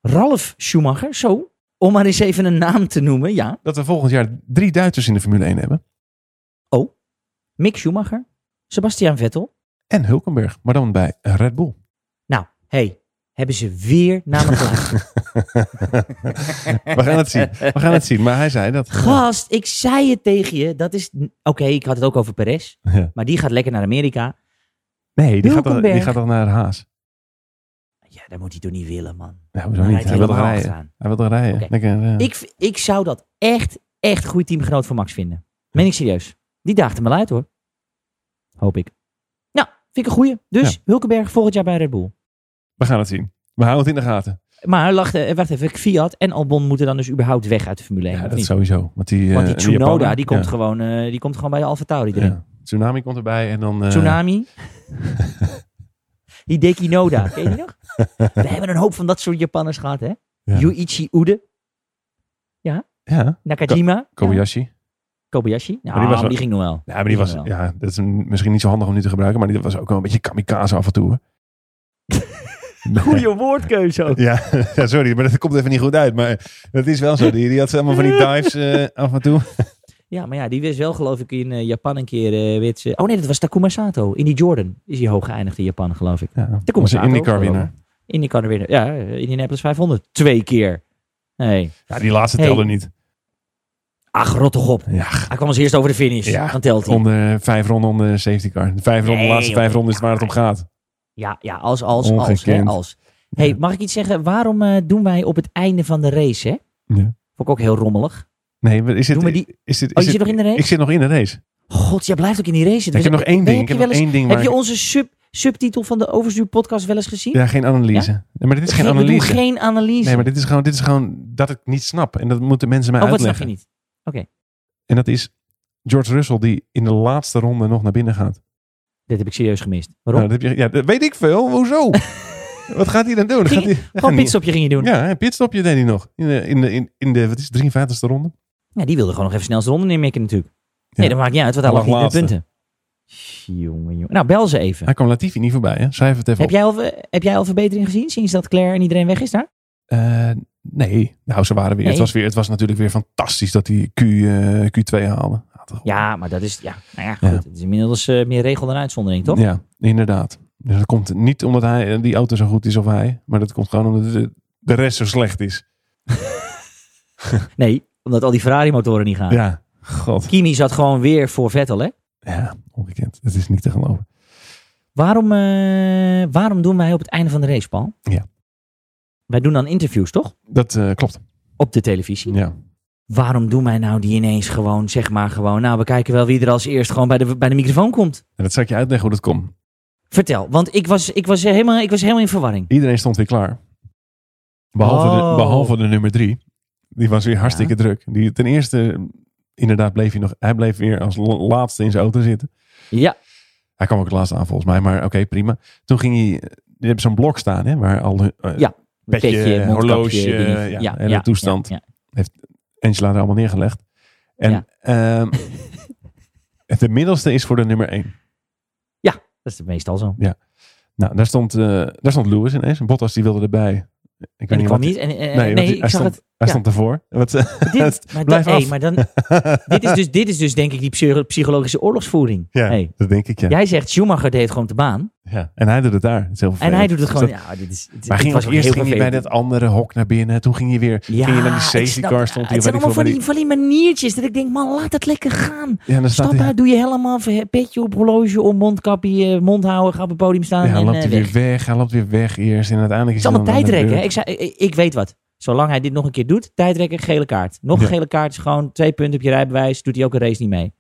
Speaker 1: Ralf Schumacher, zo. Om maar eens even een naam te noemen, ja.
Speaker 2: dat we volgend jaar drie Duitsers in de Formule 1 hebben.
Speaker 1: Mick Schumacher, Sebastian Vettel.
Speaker 2: En Hulkenberg, maar dan bij Red Bull.
Speaker 1: Nou, hey, hebben ze weer naar me geluisterd.
Speaker 2: We gaan het zien. We gaan het zien. Maar hij zei dat.
Speaker 1: Gast, ik zei het tegen je. Dat is. Oké, ik had het ook over Perez.
Speaker 2: Ja.
Speaker 1: Maar die gaat lekker naar Amerika.
Speaker 2: Nee, die gaat, dan, die
Speaker 1: Hulkenberg.
Speaker 2: gaat dan naar Haas.
Speaker 1: Ja, dat moet hij toch niet willen, man.
Speaker 2: Ja, hoezo
Speaker 1: Dan
Speaker 2: niet?
Speaker 1: rijdt
Speaker 2: Hij wil toch
Speaker 1: helemaal
Speaker 2: rijden.
Speaker 1: achteraan.
Speaker 2: Hij wil toch rijden.
Speaker 1: Oké.
Speaker 2: Lekker, eh,
Speaker 1: Ik, v- ik zou dat echt, echt goed teamgenoot van Max vinden. Meen ik serieus. Die daagde me uit, hoor. Hoop ik. Nou, vind ik een goeie. Dus Hulkenberg volgend jaar bij Red Bull.
Speaker 2: We gaan het zien. We houden het in de gaten.
Speaker 1: Maar lacht, eh, wacht even, Fiat en Albon moeten dan dus überhaupt weg uit de Formule 1.
Speaker 2: Ja,
Speaker 1: of
Speaker 2: dat
Speaker 1: niet?
Speaker 2: sowieso. Want die, eh,
Speaker 1: Want die Tsunoda,
Speaker 2: Japaner,
Speaker 1: die komt,
Speaker 2: ja.
Speaker 1: gewoon, eh, die komt gewoon bij de AlphaTauri erin.
Speaker 2: Ja. Tsunami komt erbij en dan... eh,
Speaker 1: Tsunami. die Dekinoda, ken je die nog? We hebben een hoop van dat soort Japanners gehad, hè?
Speaker 2: Ja.
Speaker 1: Yuichi Ude,
Speaker 2: Ja,
Speaker 1: Nakajima. Ja.
Speaker 2: Kobayashi.
Speaker 1: Kobayashi? Nou,
Speaker 2: die
Speaker 1: die,
Speaker 2: was wel-
Speaker 1: ging nog wel.
Speaker 2: Ja, maar die was,
Speaker 1: ging wel.
Speaker 2: ja, dat is een- misschien niet zo handig om nu te gebruiken, maar die was ook wel een beetje kamikaze af en toe. hoor.
Speaker 1: Goeie woordkeuze ook.
Speaker 2: Ja, ja, sorry, maar dat komt even niet goed uit. Maar dat is wel zo. Die, die had allemaal van die dives eh, af en toe.
Speaker 1: Ja, maar ja, die wist wel geloof ik in eh, Japan een keer. eh, weet ze- oh nee, dat was Takuma Sato. In die Jordan is hij hoog geëindigd in Japan, geloof ik.
Speaker 2: Ja,
Speaker 1: Takuma
Speaker 2: was een
Speaker 1: Sato,
Speaker 2: IndyCar winnaar.
Speaker 1: geloof ik. IndyCar winnaar. Ja, eh, Indianapolis 500. Twee keer. Nee.
Speaker 2: Ja, die laatste
Speaker 1: Hey.
Speaker 2: telde niet.
Speaker 1: Ach, rot toch op.
Speaker 2: Ja,
Speaker 1: Hij kwam als eerst over de finish.
Speaker 2: Ja,
Speaker 1: Dan telt hij.
Speaker 2: onder eh, vijf ronden onder safety car. De vijf ronden,
Speaker 1: Nee,
Speaker 2: laatste
Speaker 1: joh.
Speaker 2: vijf ronden is waar het om gaat.
Speaker 1: Ja, ja, als, als, als. Hè,
Speaker 2: Ongekend.
Speaker 1: als. Hey, mag ik iets zeggen? Waarom eh, doen wij op het einde van de race, hè?
Speaker 2: Ja.
Speaker 1: Vond ik ook heel rommelig.
Speaker 2: Nee, maar is dit,
Speaker 1: Doen we die-
Speaker 2: is dit,
Speaker 1: Oh, je
Speaker 2: is dit-
Speaker 1: zit nog in de race?
Speaker 2: Ik zit nog in de race.
Speaker 1: God, jij blijft ook in die race zitten.
Speaker 2: ik heb nog één
Speaker 1: Nee,
Speaker 2: ding. Ik
Speaker 1: heb
Speaker 2: heb
Speaker 1: je
Speaker 2: nog één ding.
Speaker 1: Heb
Speaker 2: waar
Speaker 1: je
Speaker 2: ik-
Speaker 1: onze sub, subtitel van de Overstuur podcast wel eens gezien?
Speaker 2: Ja, geen analyse. Nee, maar dit is geen
Speaker 1: We doen
Speaker 2: analyse.
Speaker 1: geen analyse.
Speaker 2: Nee, maar dit is, gewoon, dit is gewoon dat ik niet snap. En dat moeten mensen mij
Speaker 1: oh, wat snap je
Speaker 2: uitleggen.
Speaker 1: niet?
Speaker 2: En dat is George Russell die in de laatste ronde nog naar binnen gaat.
Speaker 1: Dit heb ik serieus gemist.
Speaker 2: Nou,
Speaker 1: Waarom?
Speaker 2: dat, heb je, ja, dat weet ik veel. Hoezo? Wat gaat hij dan doen? Gaat
Speaker 1: Ging-
Speaker 2: hij, gaat
Speaker 1: Gewoon
Speaker 2: hij-
Speaker 1: pitstopje ging je doen. Ja.
Speaker 2: Ja, een pitstopje deed hij nog. In de, in de, in, in de wat is het, 53ste ronde?
Speaker 1: die wilde gewoon nog even snel zijn ronde neermikken natuurlijk. Nee, dat maakt niet uit, want hij
Speaker 2: Hij
Speaker 1: lag niet
Speaker 2: lag
Speaker 1: met punten. Jongen, jongen. Nou, bel ze even.
Speaker 2: Hij kwam Latifi niet voorbij. Hè? Schrijf het even
Speaker 1: Heb
Speaker 2: op.
Speaker 1: jij, al, heb jij al verbetering gezien sinds dat Claire en iedereen weg is daar?
Speaker 2: Eh, nee, nou ze waren weer.
Speaker 1: Nee.
Speaker 2: Het, was weer het was natuurlijk weer fantastisch dat hij Q, eh, Q2 haalde. Ah, toch.
Speaker 1: Ja, maar dat is, ja, nou ja,
Speaker 2: Ja.
Speaker 1: goed. Het is inmiddels eh, meer regel dan uitzondering, toch?
Speaker 2: Ja, inderdaad. Dus dat komt niet omdat hij, eh, die auto zo goed is of hij. Maar dat komt gewoon omdat de, de rest zo slecht is.
Speaker 1: Nee, omdat al die Ferrari-motoren niet gaan.
Speaker 2: Ja, god.
Speaker 1: Kimi zat gewoon weer voor Vettel, hè?
Speaker 2: Ja, ongekend. Het is niet te geloven.
Speaker 1: Waarom, eh, waarom doen wij op het einde van de race, Paul?
Speaker 2: Ja.
Speaker 1: Wij doen dan interviews, toch?
Speaker 2: Dat eh, klopt.
Speaker 1: Op de televisie.
Speaker 2: Ja.
Speaker 1: Waarom doen wij nou die ineens gewoon, zeg maar gewoon... Nou, we kijken wel wie er als eerst gewoon bij de, bij de microfoon komt.
Speaker 2: En dat zal ik je uitleggen hoe dat komt.
Speaker 1: Vertel, want ik was, ik was, helemaal, ik was helemaal in verwarring.
Speaker 2: Iedereen stond weer klaar. Behalve,
Speaker 1: Oh.
Speaker 2: de, behalve de nummer drie. Die was weer hartstikke druk. Die, ten eerste, inderdaad, bleef hij, nog, hij bleef weer als la- laatste in zijn auto zitten.
Speaker 1: Ja,
Speaker 2: Hij kwam ook het laatste aan volgens mij, maar oké, prima. Toen ging hij... Je hebt zo'n blok staan, hè, waar al hun- eh,
Speaker 1: Ja,
Speaker 2: Petje, eh,
Speaker 1: mondkapje,
Speaker 2: horloge,
Speaker 1: dingen.
Speaker 2: ja, hele toestand.
Speaker 1: ja, ja.
Speaker 2: Angela er allemaal neergelegd. En
Speaker 1: Ja.
Speaker 2: ehm de middelste is voor de nummer één.
Speaker 1: Dat is meestal zo.
Speaker 2: Nou, daar stond, eh, daar stond Lewis ineens. Bottas die wilde erbij. Ik
Speaker 1: En
Speaker 2: weet
Speaker 1: ik
Speaker 2: niet
Speaker 1: kwam
Speaker 2: wat...
Speaker 1: niet. En, eh, eh,
Speaker 2: Nee,
Speaker 1: nee,
Speaker 2: want hij,
Speaker 1: ik zag
Speaker 2: stond,
Speaker 1: het.
Speaker 2: hij
Speaker 1: ja.
Speaker 2: stond ervoor. Wat,
Speaker 1: Dit, maar,
Speaker 2: Blijf
Speaker 1: dan, hey,
Speaker 2: af.
Speaker 1: maar dan, dit, is dus, dit is dus denk ik die psycho- psychologische oorlogsvoering.
Speaker 2: ja,
Speaker 1: Hey,
Speaker 2: dat denk ik, ja.
Speaker 1: Jij zegt Schumacher deed gewoon de baan.
Speaker 2: Ja, en hij doet het daar. Het is heel
Speaker 1: En
Speaker 2: vervelend.
Speaker 1: hij doet het
Speaker 2: Dus
Speaker 1: gewoon.
Speaker 2: dat-
Speaker 1: Ja, dit is, dit,
Speaker 2: maar
Speaker 1: dit was
Speaker 2: ging als
Speaker 1: ook heel
Speaker 2: eerst ging hij bij
Speaker 1: vervelend.
Speaker 2: dat andere hok naar binnen. Toen ging hij weer ging hij naar die
Speaker 1: ik
Speaker 2: safety
Speaker 1: snap-
Speaker 2: car. Stond hij,
Speaker 1: het
Speaker 2: weet
Speaker 1: zijn allemaal
Speaker 2: ik veel,
Speaker 1: van die, van
Speaker 2: waar
Speaker 1: die maniertjes. Dat ik denk, man, laat het lekker gaan.
Speaker 2: die- ja, en dan staat
Speaker 1: Stap
Speaker 2: hij,
Speaker 1: uit, doe je helemaal een petje op, horloge om, mondkapje, eh, mond houden, ga op het podium staan
Speaker 2: ja,
Speaker 1: en
Speaker 2: dan loopt
Speaker 1: eh,
Speaker 2: hij
Speaker 1: weg.
Speaker 2: weer weg. Hij loopt weer weg eerst. En uiteindelijk
Speaker 1: Het
Speaker 2: is
Speaker 1: is allemaal
Speaker 2: hij dan aan de
Speaker 1: tijdrekken. hè?
Speaker 2: beurt.
Speaker 1: Ik, zei, eh, ik, ik weet wat. Zolang hij dit nog een keer doet, tijdrekken, gele kaart. Nog een
Speaker 2: Ja.
Speaker 1: gele kaart is gewoon twee punten op je rijbewijs. Doet hij ook een race niet mee.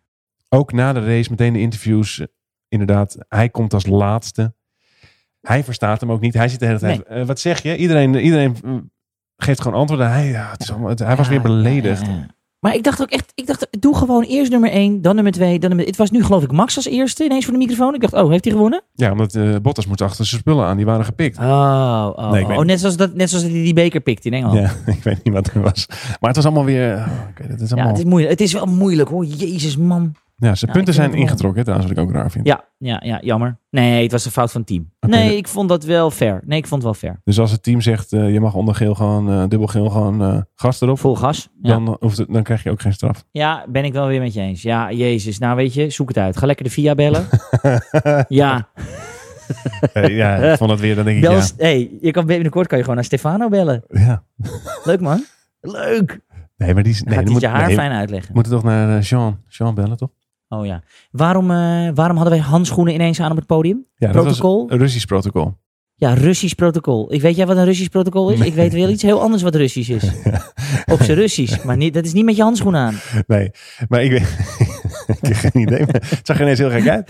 Speaker 2: Ook na de race, meteen de interviews. eh, Inderdaad, hij komt als laatste. Hij verstaat hem ook niet. Hij zit de hele tijd. eh, wat zeg je? Iedereen, iedereen eh, geeft gewoon antwoorden. Hij, ja, het is allemaal, het- hij was
Speaker 1: Ja,
Speaker 2: weer beledigd.
Speaker 1: Ah, ja, ja. Maar ik dacht ook echt, ik dacht, doe gewoon eerst nummer 1, dan nummer 2, dan nummer... Het was nu geloof ik Max als eerste ineens voor de microfoon. Ik dacht, oh, heeft hij gewonnen?
Speaker 2: Ja, omdat eh Bottas moet achter zijn spullen aan. Die waren gepikt.
Speaker 1: Oh, oh,
Speaker 2: Nee, ik
Speaker 1: oh.
Speaker 2: weet
Speaker 1: Oh,
Speaker 2: niet.
Speaker 1: net zoals, dat, net zoals dat hij die beker pikt in Engeland. Ja,
Speaker 2: Ja, ik weet niet wat er was. Maar het was allemaal weer... oh, oké, dat is allemaal...
Speaker 1: het, is moeilijk. het is wel moeilijk hoor, jezus man.
Speaker 2: Ja, zijn
Speaker 1: Ja,
Speaker 2: punten
Speaker 1: ik vind
Speaker 2: zijn
Speaker 1: het wel-
Speaker 2: ingetrokken, hè, trouwens, wat ik ook raar vind.
Speaker 1: Ja, ja, ja, jammer. Nee, het was de fout van het team.
Speaker 2: Oké,
Speaker 1: nee,
Speaker 2: de-
Speaker 1: ik vond dat wel fair. Nee, ik vond het wel fair.
Speaker 2: Dus als het team zegt, eh, je mag onder geel gewoon, eh, dubbel geel gewoon eh, gas erop,
Speaker 1: Vol gas. Ja.
Speaker 2: dan, hoeft het, dan krijg je ook geen straf.
Speaker 1: ja, ben ik wel weer met je eens. Ja, jezus. Nou weet je, zoek het uit. Ga lekker de VIA bellen. ja,
Speaker 2: Eh, ja, ik vond dat weer, dan denk ik,
Speaker 1: bel...
Speaker 2: ja,
Speaker 1: Hey, je kan binnenkort kan je gewoon naar Stefano bellen.
Speaker 2: ja.
Speaker 1: Leuk man. Leuk.
Speaker 2: Nee, maar die is... Nee,
Speaker 1: gaat hij
Speaker 2: dan moet,
Speaker 1: het je haar
Speaker 2: nee,
Speaker 1: fijn uitleggen.
Speaker 2: we moeten toch naar eh, Jean, Jean bellen, toch?
Speaker 1: Oh ja. Waarom, eh, waarom hadden wij handschoenen ineens aan op het podium?
Speaker 2: Ja,
Speaker 1: Protocol?
Speaker 2: was een Russisch protocol.
Speaker 1: Ja, Russisch protocol. Ik weet jij wat een Russisch protocol is?
Speaker 2: Nee.
Speaker 1: Ik weet wel iets heel anders wat Russisch is. Op zijn Russisch. Maar niet, dat is niet met je handschoenen aan.
Speaker 2: Nee, maar ik weet... ik heb geen idee, maar het zag er ineens heel gek uit.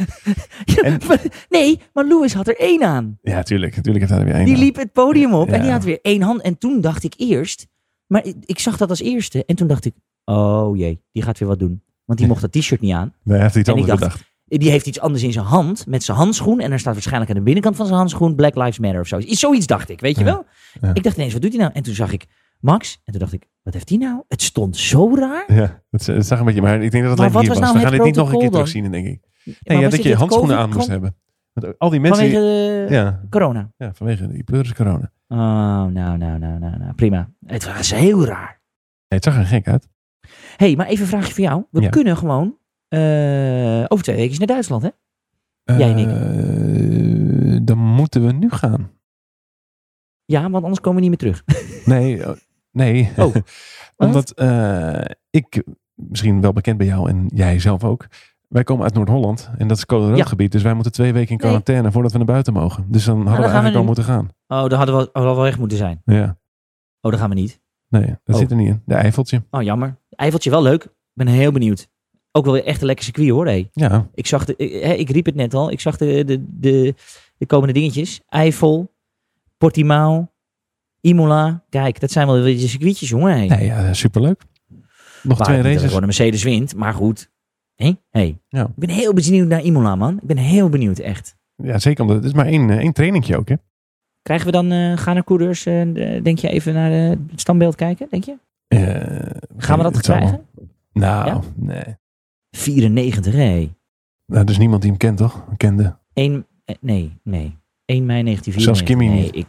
Speaker 1: Ja,
Speaker 2: En-
Speaker 1: maar- nee, maar Louis had er één aan.
Speaker 2: Ja, tuurlijk. Tuurlijk heeft hij er weer eh. één
Speaker 1: Die
Speaker 2: aan.
Speaker 1: liep het podium op en die
Speaker 2: Ja.
Speaker 1: had weer één hand. En toen dacht ik eerst... Maar ik, ik zag dat als eerste. En toen dacht ik... Oh jee, die gaat weer wat doen. Want die mocht dat t-shirt niet aan.
Speaker 2: Nee, hij heeft iets
Speaker 1: En ik
Speaker 2: anders
Speaker 1: dacht-
Speaker 2: bedacht.
Speaker 1: Die heeft iets anders in zijn hand, met zijn handschoen. En er staat waarschijnlijk aan de binnenkant van zijn handschoen Black Lives Matter of zo. Iets- Zoiets dacht ik, weet je
Speaker 2: Ja,
Speaker 1: wel?
Speaker 2: ja.
Speaker 1: Ik dacht ineens, wat doet hij nou? En toen zag ik, Max. En toen dacht ik, wat heeft die nou? Het stond zo raar.
Speaker 2: Ja, het, het zag een beetje, maar ik denk dat het
Speaker 1: Maar
Speaker 2: alleen
Speaker 1: wat
Speaker 2: hier
Speaker 1: was
Speaker 2: was.
Speaker 1: nou
Speaker 2: We
Speaker 1: het
Speaker 2: gaan dit niet nog een keer
Speaker 1: protocol dan?
Speaker 2: terugzien, denk ik.
Speaker 1: Maar
Speaker 2: Nee, ja,
Speaker 1: was
Speaker 2: dat
Speaker 1: dit
Speaker 2: je handschoenen
Speaker 1: COVID
Speaker 2: aan moest
Speaker 1: gewoon
Speaker 2: hebben. Want al die mensen.
Speaker 1: Vanwege de
Speaker 2: ja,
Speaker 1: corona.
Speaker 2: ja, vanwege die pleuris corona. Nee,
Speaker 1: Oh, nou, nou, nou, nou, nou. Prima. Het was heel raar.
Speaker 2: het zag er gek uit.
Speaker 1: Hé, hey, maar even een vraagje voor jou. We
Speaker 2: Ja.
Speaker 1: kunnen gewoon eh, over twee weken naar Duitsland, hè? Jij en ik.
Speaker 2: Eh, dan moeten we nu gaan.
Speaker 1: Ja, want anders komen we niet meer terug.
Speaker 2: Nee, eh, nee.
Speaker 1: Oh.
Speaker 2: Omdat eh, ik, misschien wel bekend bij jou en jij zelf ook. Wij komen uit Noord-Holland en dat is code rood
Speaker 1: Ja.
Speaker 2: gebied. Dus wij moeten twee weken in
Speaker 1: Nee.
Speaker 2: quarantaine voordat we naar buiten mogen. Dus dan hadden
Speaker 1: dat
Speaker 2: we
Speaker 1: gaan we
Speaker 2: eigenlijk al
Speaker 1: nu.
Speaker 2: moeten gaan.
Speaker 1: Oh, daar hadden we al al wel weg moeten zijn.
Speaker 2: Ja,
Speaker 1: Oh, daar gaan we niet.
Speaker 2: nee, dat
Speaker 1: Oh.
Speaker 2: zit er niet in. De Eifeltje.
Speaker 1: Oh, jammer. Eifeltje, wel leuk. Ik ben heel benieuwd. Ook wel weer echt een lekker circuit, hoor. hé.
Speaker 2: Ja,
Speaker 1: Ik zag de... eh, hè, ik riep het net al. Ik zag de, de, de, de komende dingetjes. Eifel, Portimao, Imola. Kijk, dat zijn wel weer de circuitjes, jongen. hé.
Speaker 2: nee, ja superleuk. Nog
Speaker 1: Waar
Speaker 2: twee
Speaker 1: het niet
Speaker 2: races.
Speaker 1: gewoon een Mercedes wint, maar goed. Hé? Hé.
Speaker 2: Ja.
Speaker 1: Ik ben heel benieuwd naar Imola, man. Ik ben heel benieuwd, echt.
Speaker 2: Ja, zeker. Omdat het is maar één, eh, één trainingje ook, hè?
Speaker 1: Krijgen we dan, eh gaan er coureurs, eh, denk je, even naar eh, het standbeeld kijken, denk je? Gaan we dat krijgen?
Speaker 2: Eh, Nou,
Speaker 1: Ja?
Speaker 2: nee.
Speaker 1: 94, hé.
Speaker 2: Nou, dus niemand die hem kent, toch? Kende.
Speaker 1: 1, eh, nee, nee. 1 mei 1994.
Speaker 2: Zelfs Kimmy
Speaker 1: nee,
Speaker 2: niet.
Speaker 1: Ik...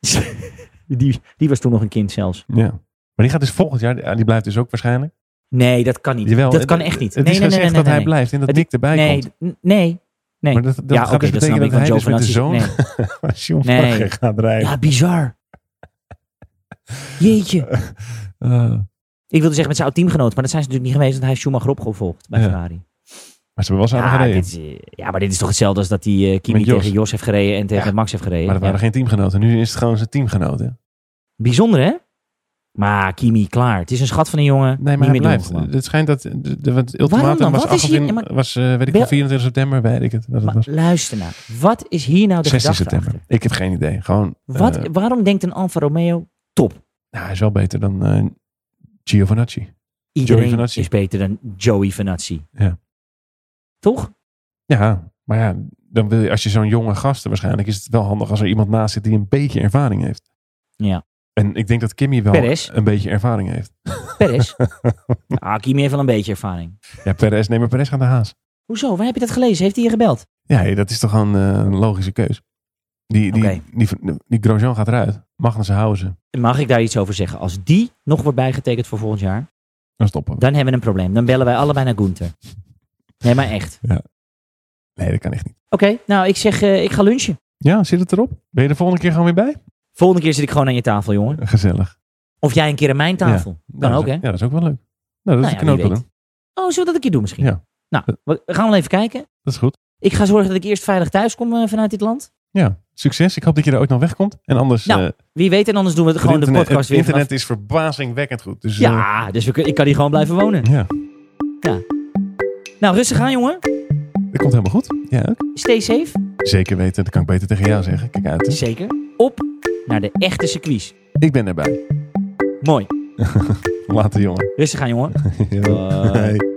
Speaker 1: die, die was toen nog een kind zelfs.
Speaker 2: Ja. Maar die gaat dus volgend jaar, ja, die blijft dus ook waarschijnlijk.
Speaker 1: Nee, dat kan niet.
Speaker 2: Jawel,
Speaker 1: dat
Speaker 2: het-
Speaker 1: kan echt niet.
Speaker 2: Het
Speaker 1: nee,
Speaker 2: is
Speaker 1: nee, nee,
Speaker 2: gezegd
Speaker 1: nee,
Speaker 2: dat hij
Speaker 1: nee,
Speaker 2: blijft en dat
Speaker 1: Het-
Speaker 2: Nick erbij
Speaker 1: nee,
Speaker 2: komt.
Speaker 1: n- nee. nee.
Speaker 2: Maar dat, dat
Speaker 1: Ja,
Speaker 2: gaat
Speaker 1: oké,
Speaker 2: dus
Speaker 1: dat snap
Speaker 2: betekenen
Speaker 1: ik,
Speaker 2: dat
Speaker 1: want
Speaker 2: hij dus met de
Speaker 1: Giovinazzi-
Speaker 2: zoon
Speaker 1: nee.
Speaker 2: van John
Speaker 1: Nee.
Speaker 2: Varger gaat rijden.
Speaker 1: Ja, bizar. Jeetje.
Speaker 2: Eh,
Speaker 1: Ik wilde zeggen met zijn oud teamgenoot, maar dat zijn ze natuurlijk niet geweest, want hij heeft Schumacher opgevolgd bij
Speaker 2: Ja.
Speaker 1: Ferrari.
Speaker 2: maar ze hebben wel samen
Speaker 1: Ja,
Speaker 2: gereden.
Speaker 1: dit is, eh, ja, maar dit is toch hetzelfde als dat hij eh, Kimi
Speaker 2: Met Jos.
Speaker 1: tegen Jos heeft gereden en tegen
Speaker 2: Ja,
Speaker 1: Max heeft gereden.
Speaker 2: Maar dat
Speaker 1: Ja.
Speaker 2: waren geen teamgenoten. Nu is het gewoon zijn teamgenoten.
Speaker 1: Bijzonder, hè? Maar Kimi, klaar. Het is een schat van een jongen.
Speaker 2: Nee, maar
Speaker 1: niet
Speaker 2: hij
Speaker 1: meer
Speaker 2: blijft.
Speaker 1: Doen, gewoon.
Speaker 2: Het schijnt dat... De, de, want het
Speaker 1: Waarom
Speaker 2: ultimatum
Speaker 1: dan?
Speaker 2: was,
Speaker 1: Wat is hier-
Speaker 2: 28
Speaker 1: ja,
Speaker 2: was eh, weet ik,
Speaker 1: Wel-
Speaker 2: 24 september, weet ik het. Dat het
Speaker 1: maar
Speaker 2: was.
Speaker 1: luister nou. Wat is hier nou de
Speaker 2: 16
Speaker 1: gedachte
Speaker 2: september.
Speaker 1: achter?
Speaker 2: Ik heb geen idee. Gewoon,
Speaker 1: Wat,
Speaker 2: eh,
Speaker 1: waarom denkt een Alfa Romeo top?
Speaker 2: nou, hij is wel beter dan eh, Giovinazzi.
Speaker 1: Iedereen
Speaker 2: Vanazzi.
Speaker 1: is beter dan Joey Vanazzi.
Speaker 2: Ja.
Speaker 1: Toch?
Speaker 2: Ja, maar ja, dan wil je, als je zo'n jonge gasten waarschijnlijk is het wel handig als er iemand naast zit die een beetje ervaring heeft.
Speaker 1: Ja.
Speaker 2: En ik denk dat Kimmy wel
Speaker 1: Perez.
Speaker 2: een beetje ervaring heeft.
Speaker 1: Perez? ah, Kimi heeft wel een beetje ervaring.
Speaker 2: Ja, Perez, nee, maar Perez gaat naar Haas.
Speaker 1: Hoezo? Waar heb je dat gelezen? Heeft hij je gebeld?
Speaker 2: Ja, hé, dat is toch gewoon eh, een logische keus. Die, die,
Speaker 1: Oké.
Speaker 2: die, die, Grosjean gaat eruit. Magnussen houden ze.
Speaker 1: Mag ik daar iets over zeggen? Als die nog wordt bijgetekend voor volgend jaar,
Speaker 2: Dan stoppen we.
Speaker 1: dan hebben we een probleem. Dan bellen wij allebei naar Gunther. Nee, maar echt.
Speaker 2: Nee, dat kan echt niet.
Speaker 1: Oké, nou ik zeg, eh, ik ga lunchen.
Speaker 2: Ja, zit het erop? Ben je de volgende keer gewoon weer bij?
Speaker 1: Volgende keer zit ik gewoon aan je tafel, jongen.
Speaker 2: Gezellig.
Speaker 1: Of jij een keer aan mijn tafel. Kan
Speaker 2: Nou,
Speaker 1: ook, hè?
Speaker 2: Ja, dat is ook wel leuk. Nou, dat
Speaker 1: Nou
Speaker 2: is een
Speaker 1: ja, wie
Speaker 2: knoop wel
Speaker 1: weet.
Speaker 2: in.
Speaker 1: Oh, zullen we dat een keer doen misschien?
Speaker 2: Ja.
Speaker 1: Nou, we gaan wel even kijken.
Speaker 2: Dat is goed.
Speaker 1: Ik ga zorgen dat ik eerst veilig thuis kom eh, vanuit dit land.
Speaker 2: Ja, succes. Ik hoop dat je er ooit nog wegkomt. En anders...
Speaker 1: Nou,
Speaker 2: eh,
Speaker 1: Wie weet, en anders doen we het
Speaker 2: het
Speaker 1: gewoon de
Speaker 2: internet,
Speaker 1: podcast
Speaker 2: het
Speaker 1: weer
Speaker 2: internet is verbazingwekkend goed. Dus,
Speaker 1: vanaf-
Speaker 2: eh,
Speaker 1: Ja, dus we, kun- ik kan hier gewoon blijven wonen.
Speaker 2: ja,
Speaker 1: Nou, rustig aan, jongen.
Speaker 2: dat komt helemaal goed. Ja, ook.
Speaker 1: Stay safe.
Speaker 2: Zeker weten. Dat kan ik beter tegen jou zeggen. Kijk uit. hè.
Speaker 1: Zeker. Op naar de echte circuits.
Speaker 2: Ik ben erbij.
Speaker 1: Mooi.
Speaker 2: Later, jongen.
Speaker 1: Rustig aan, jongen.
Speaker 2: Ja.
Speaker 1: Bye.
Speaker 2: Hey.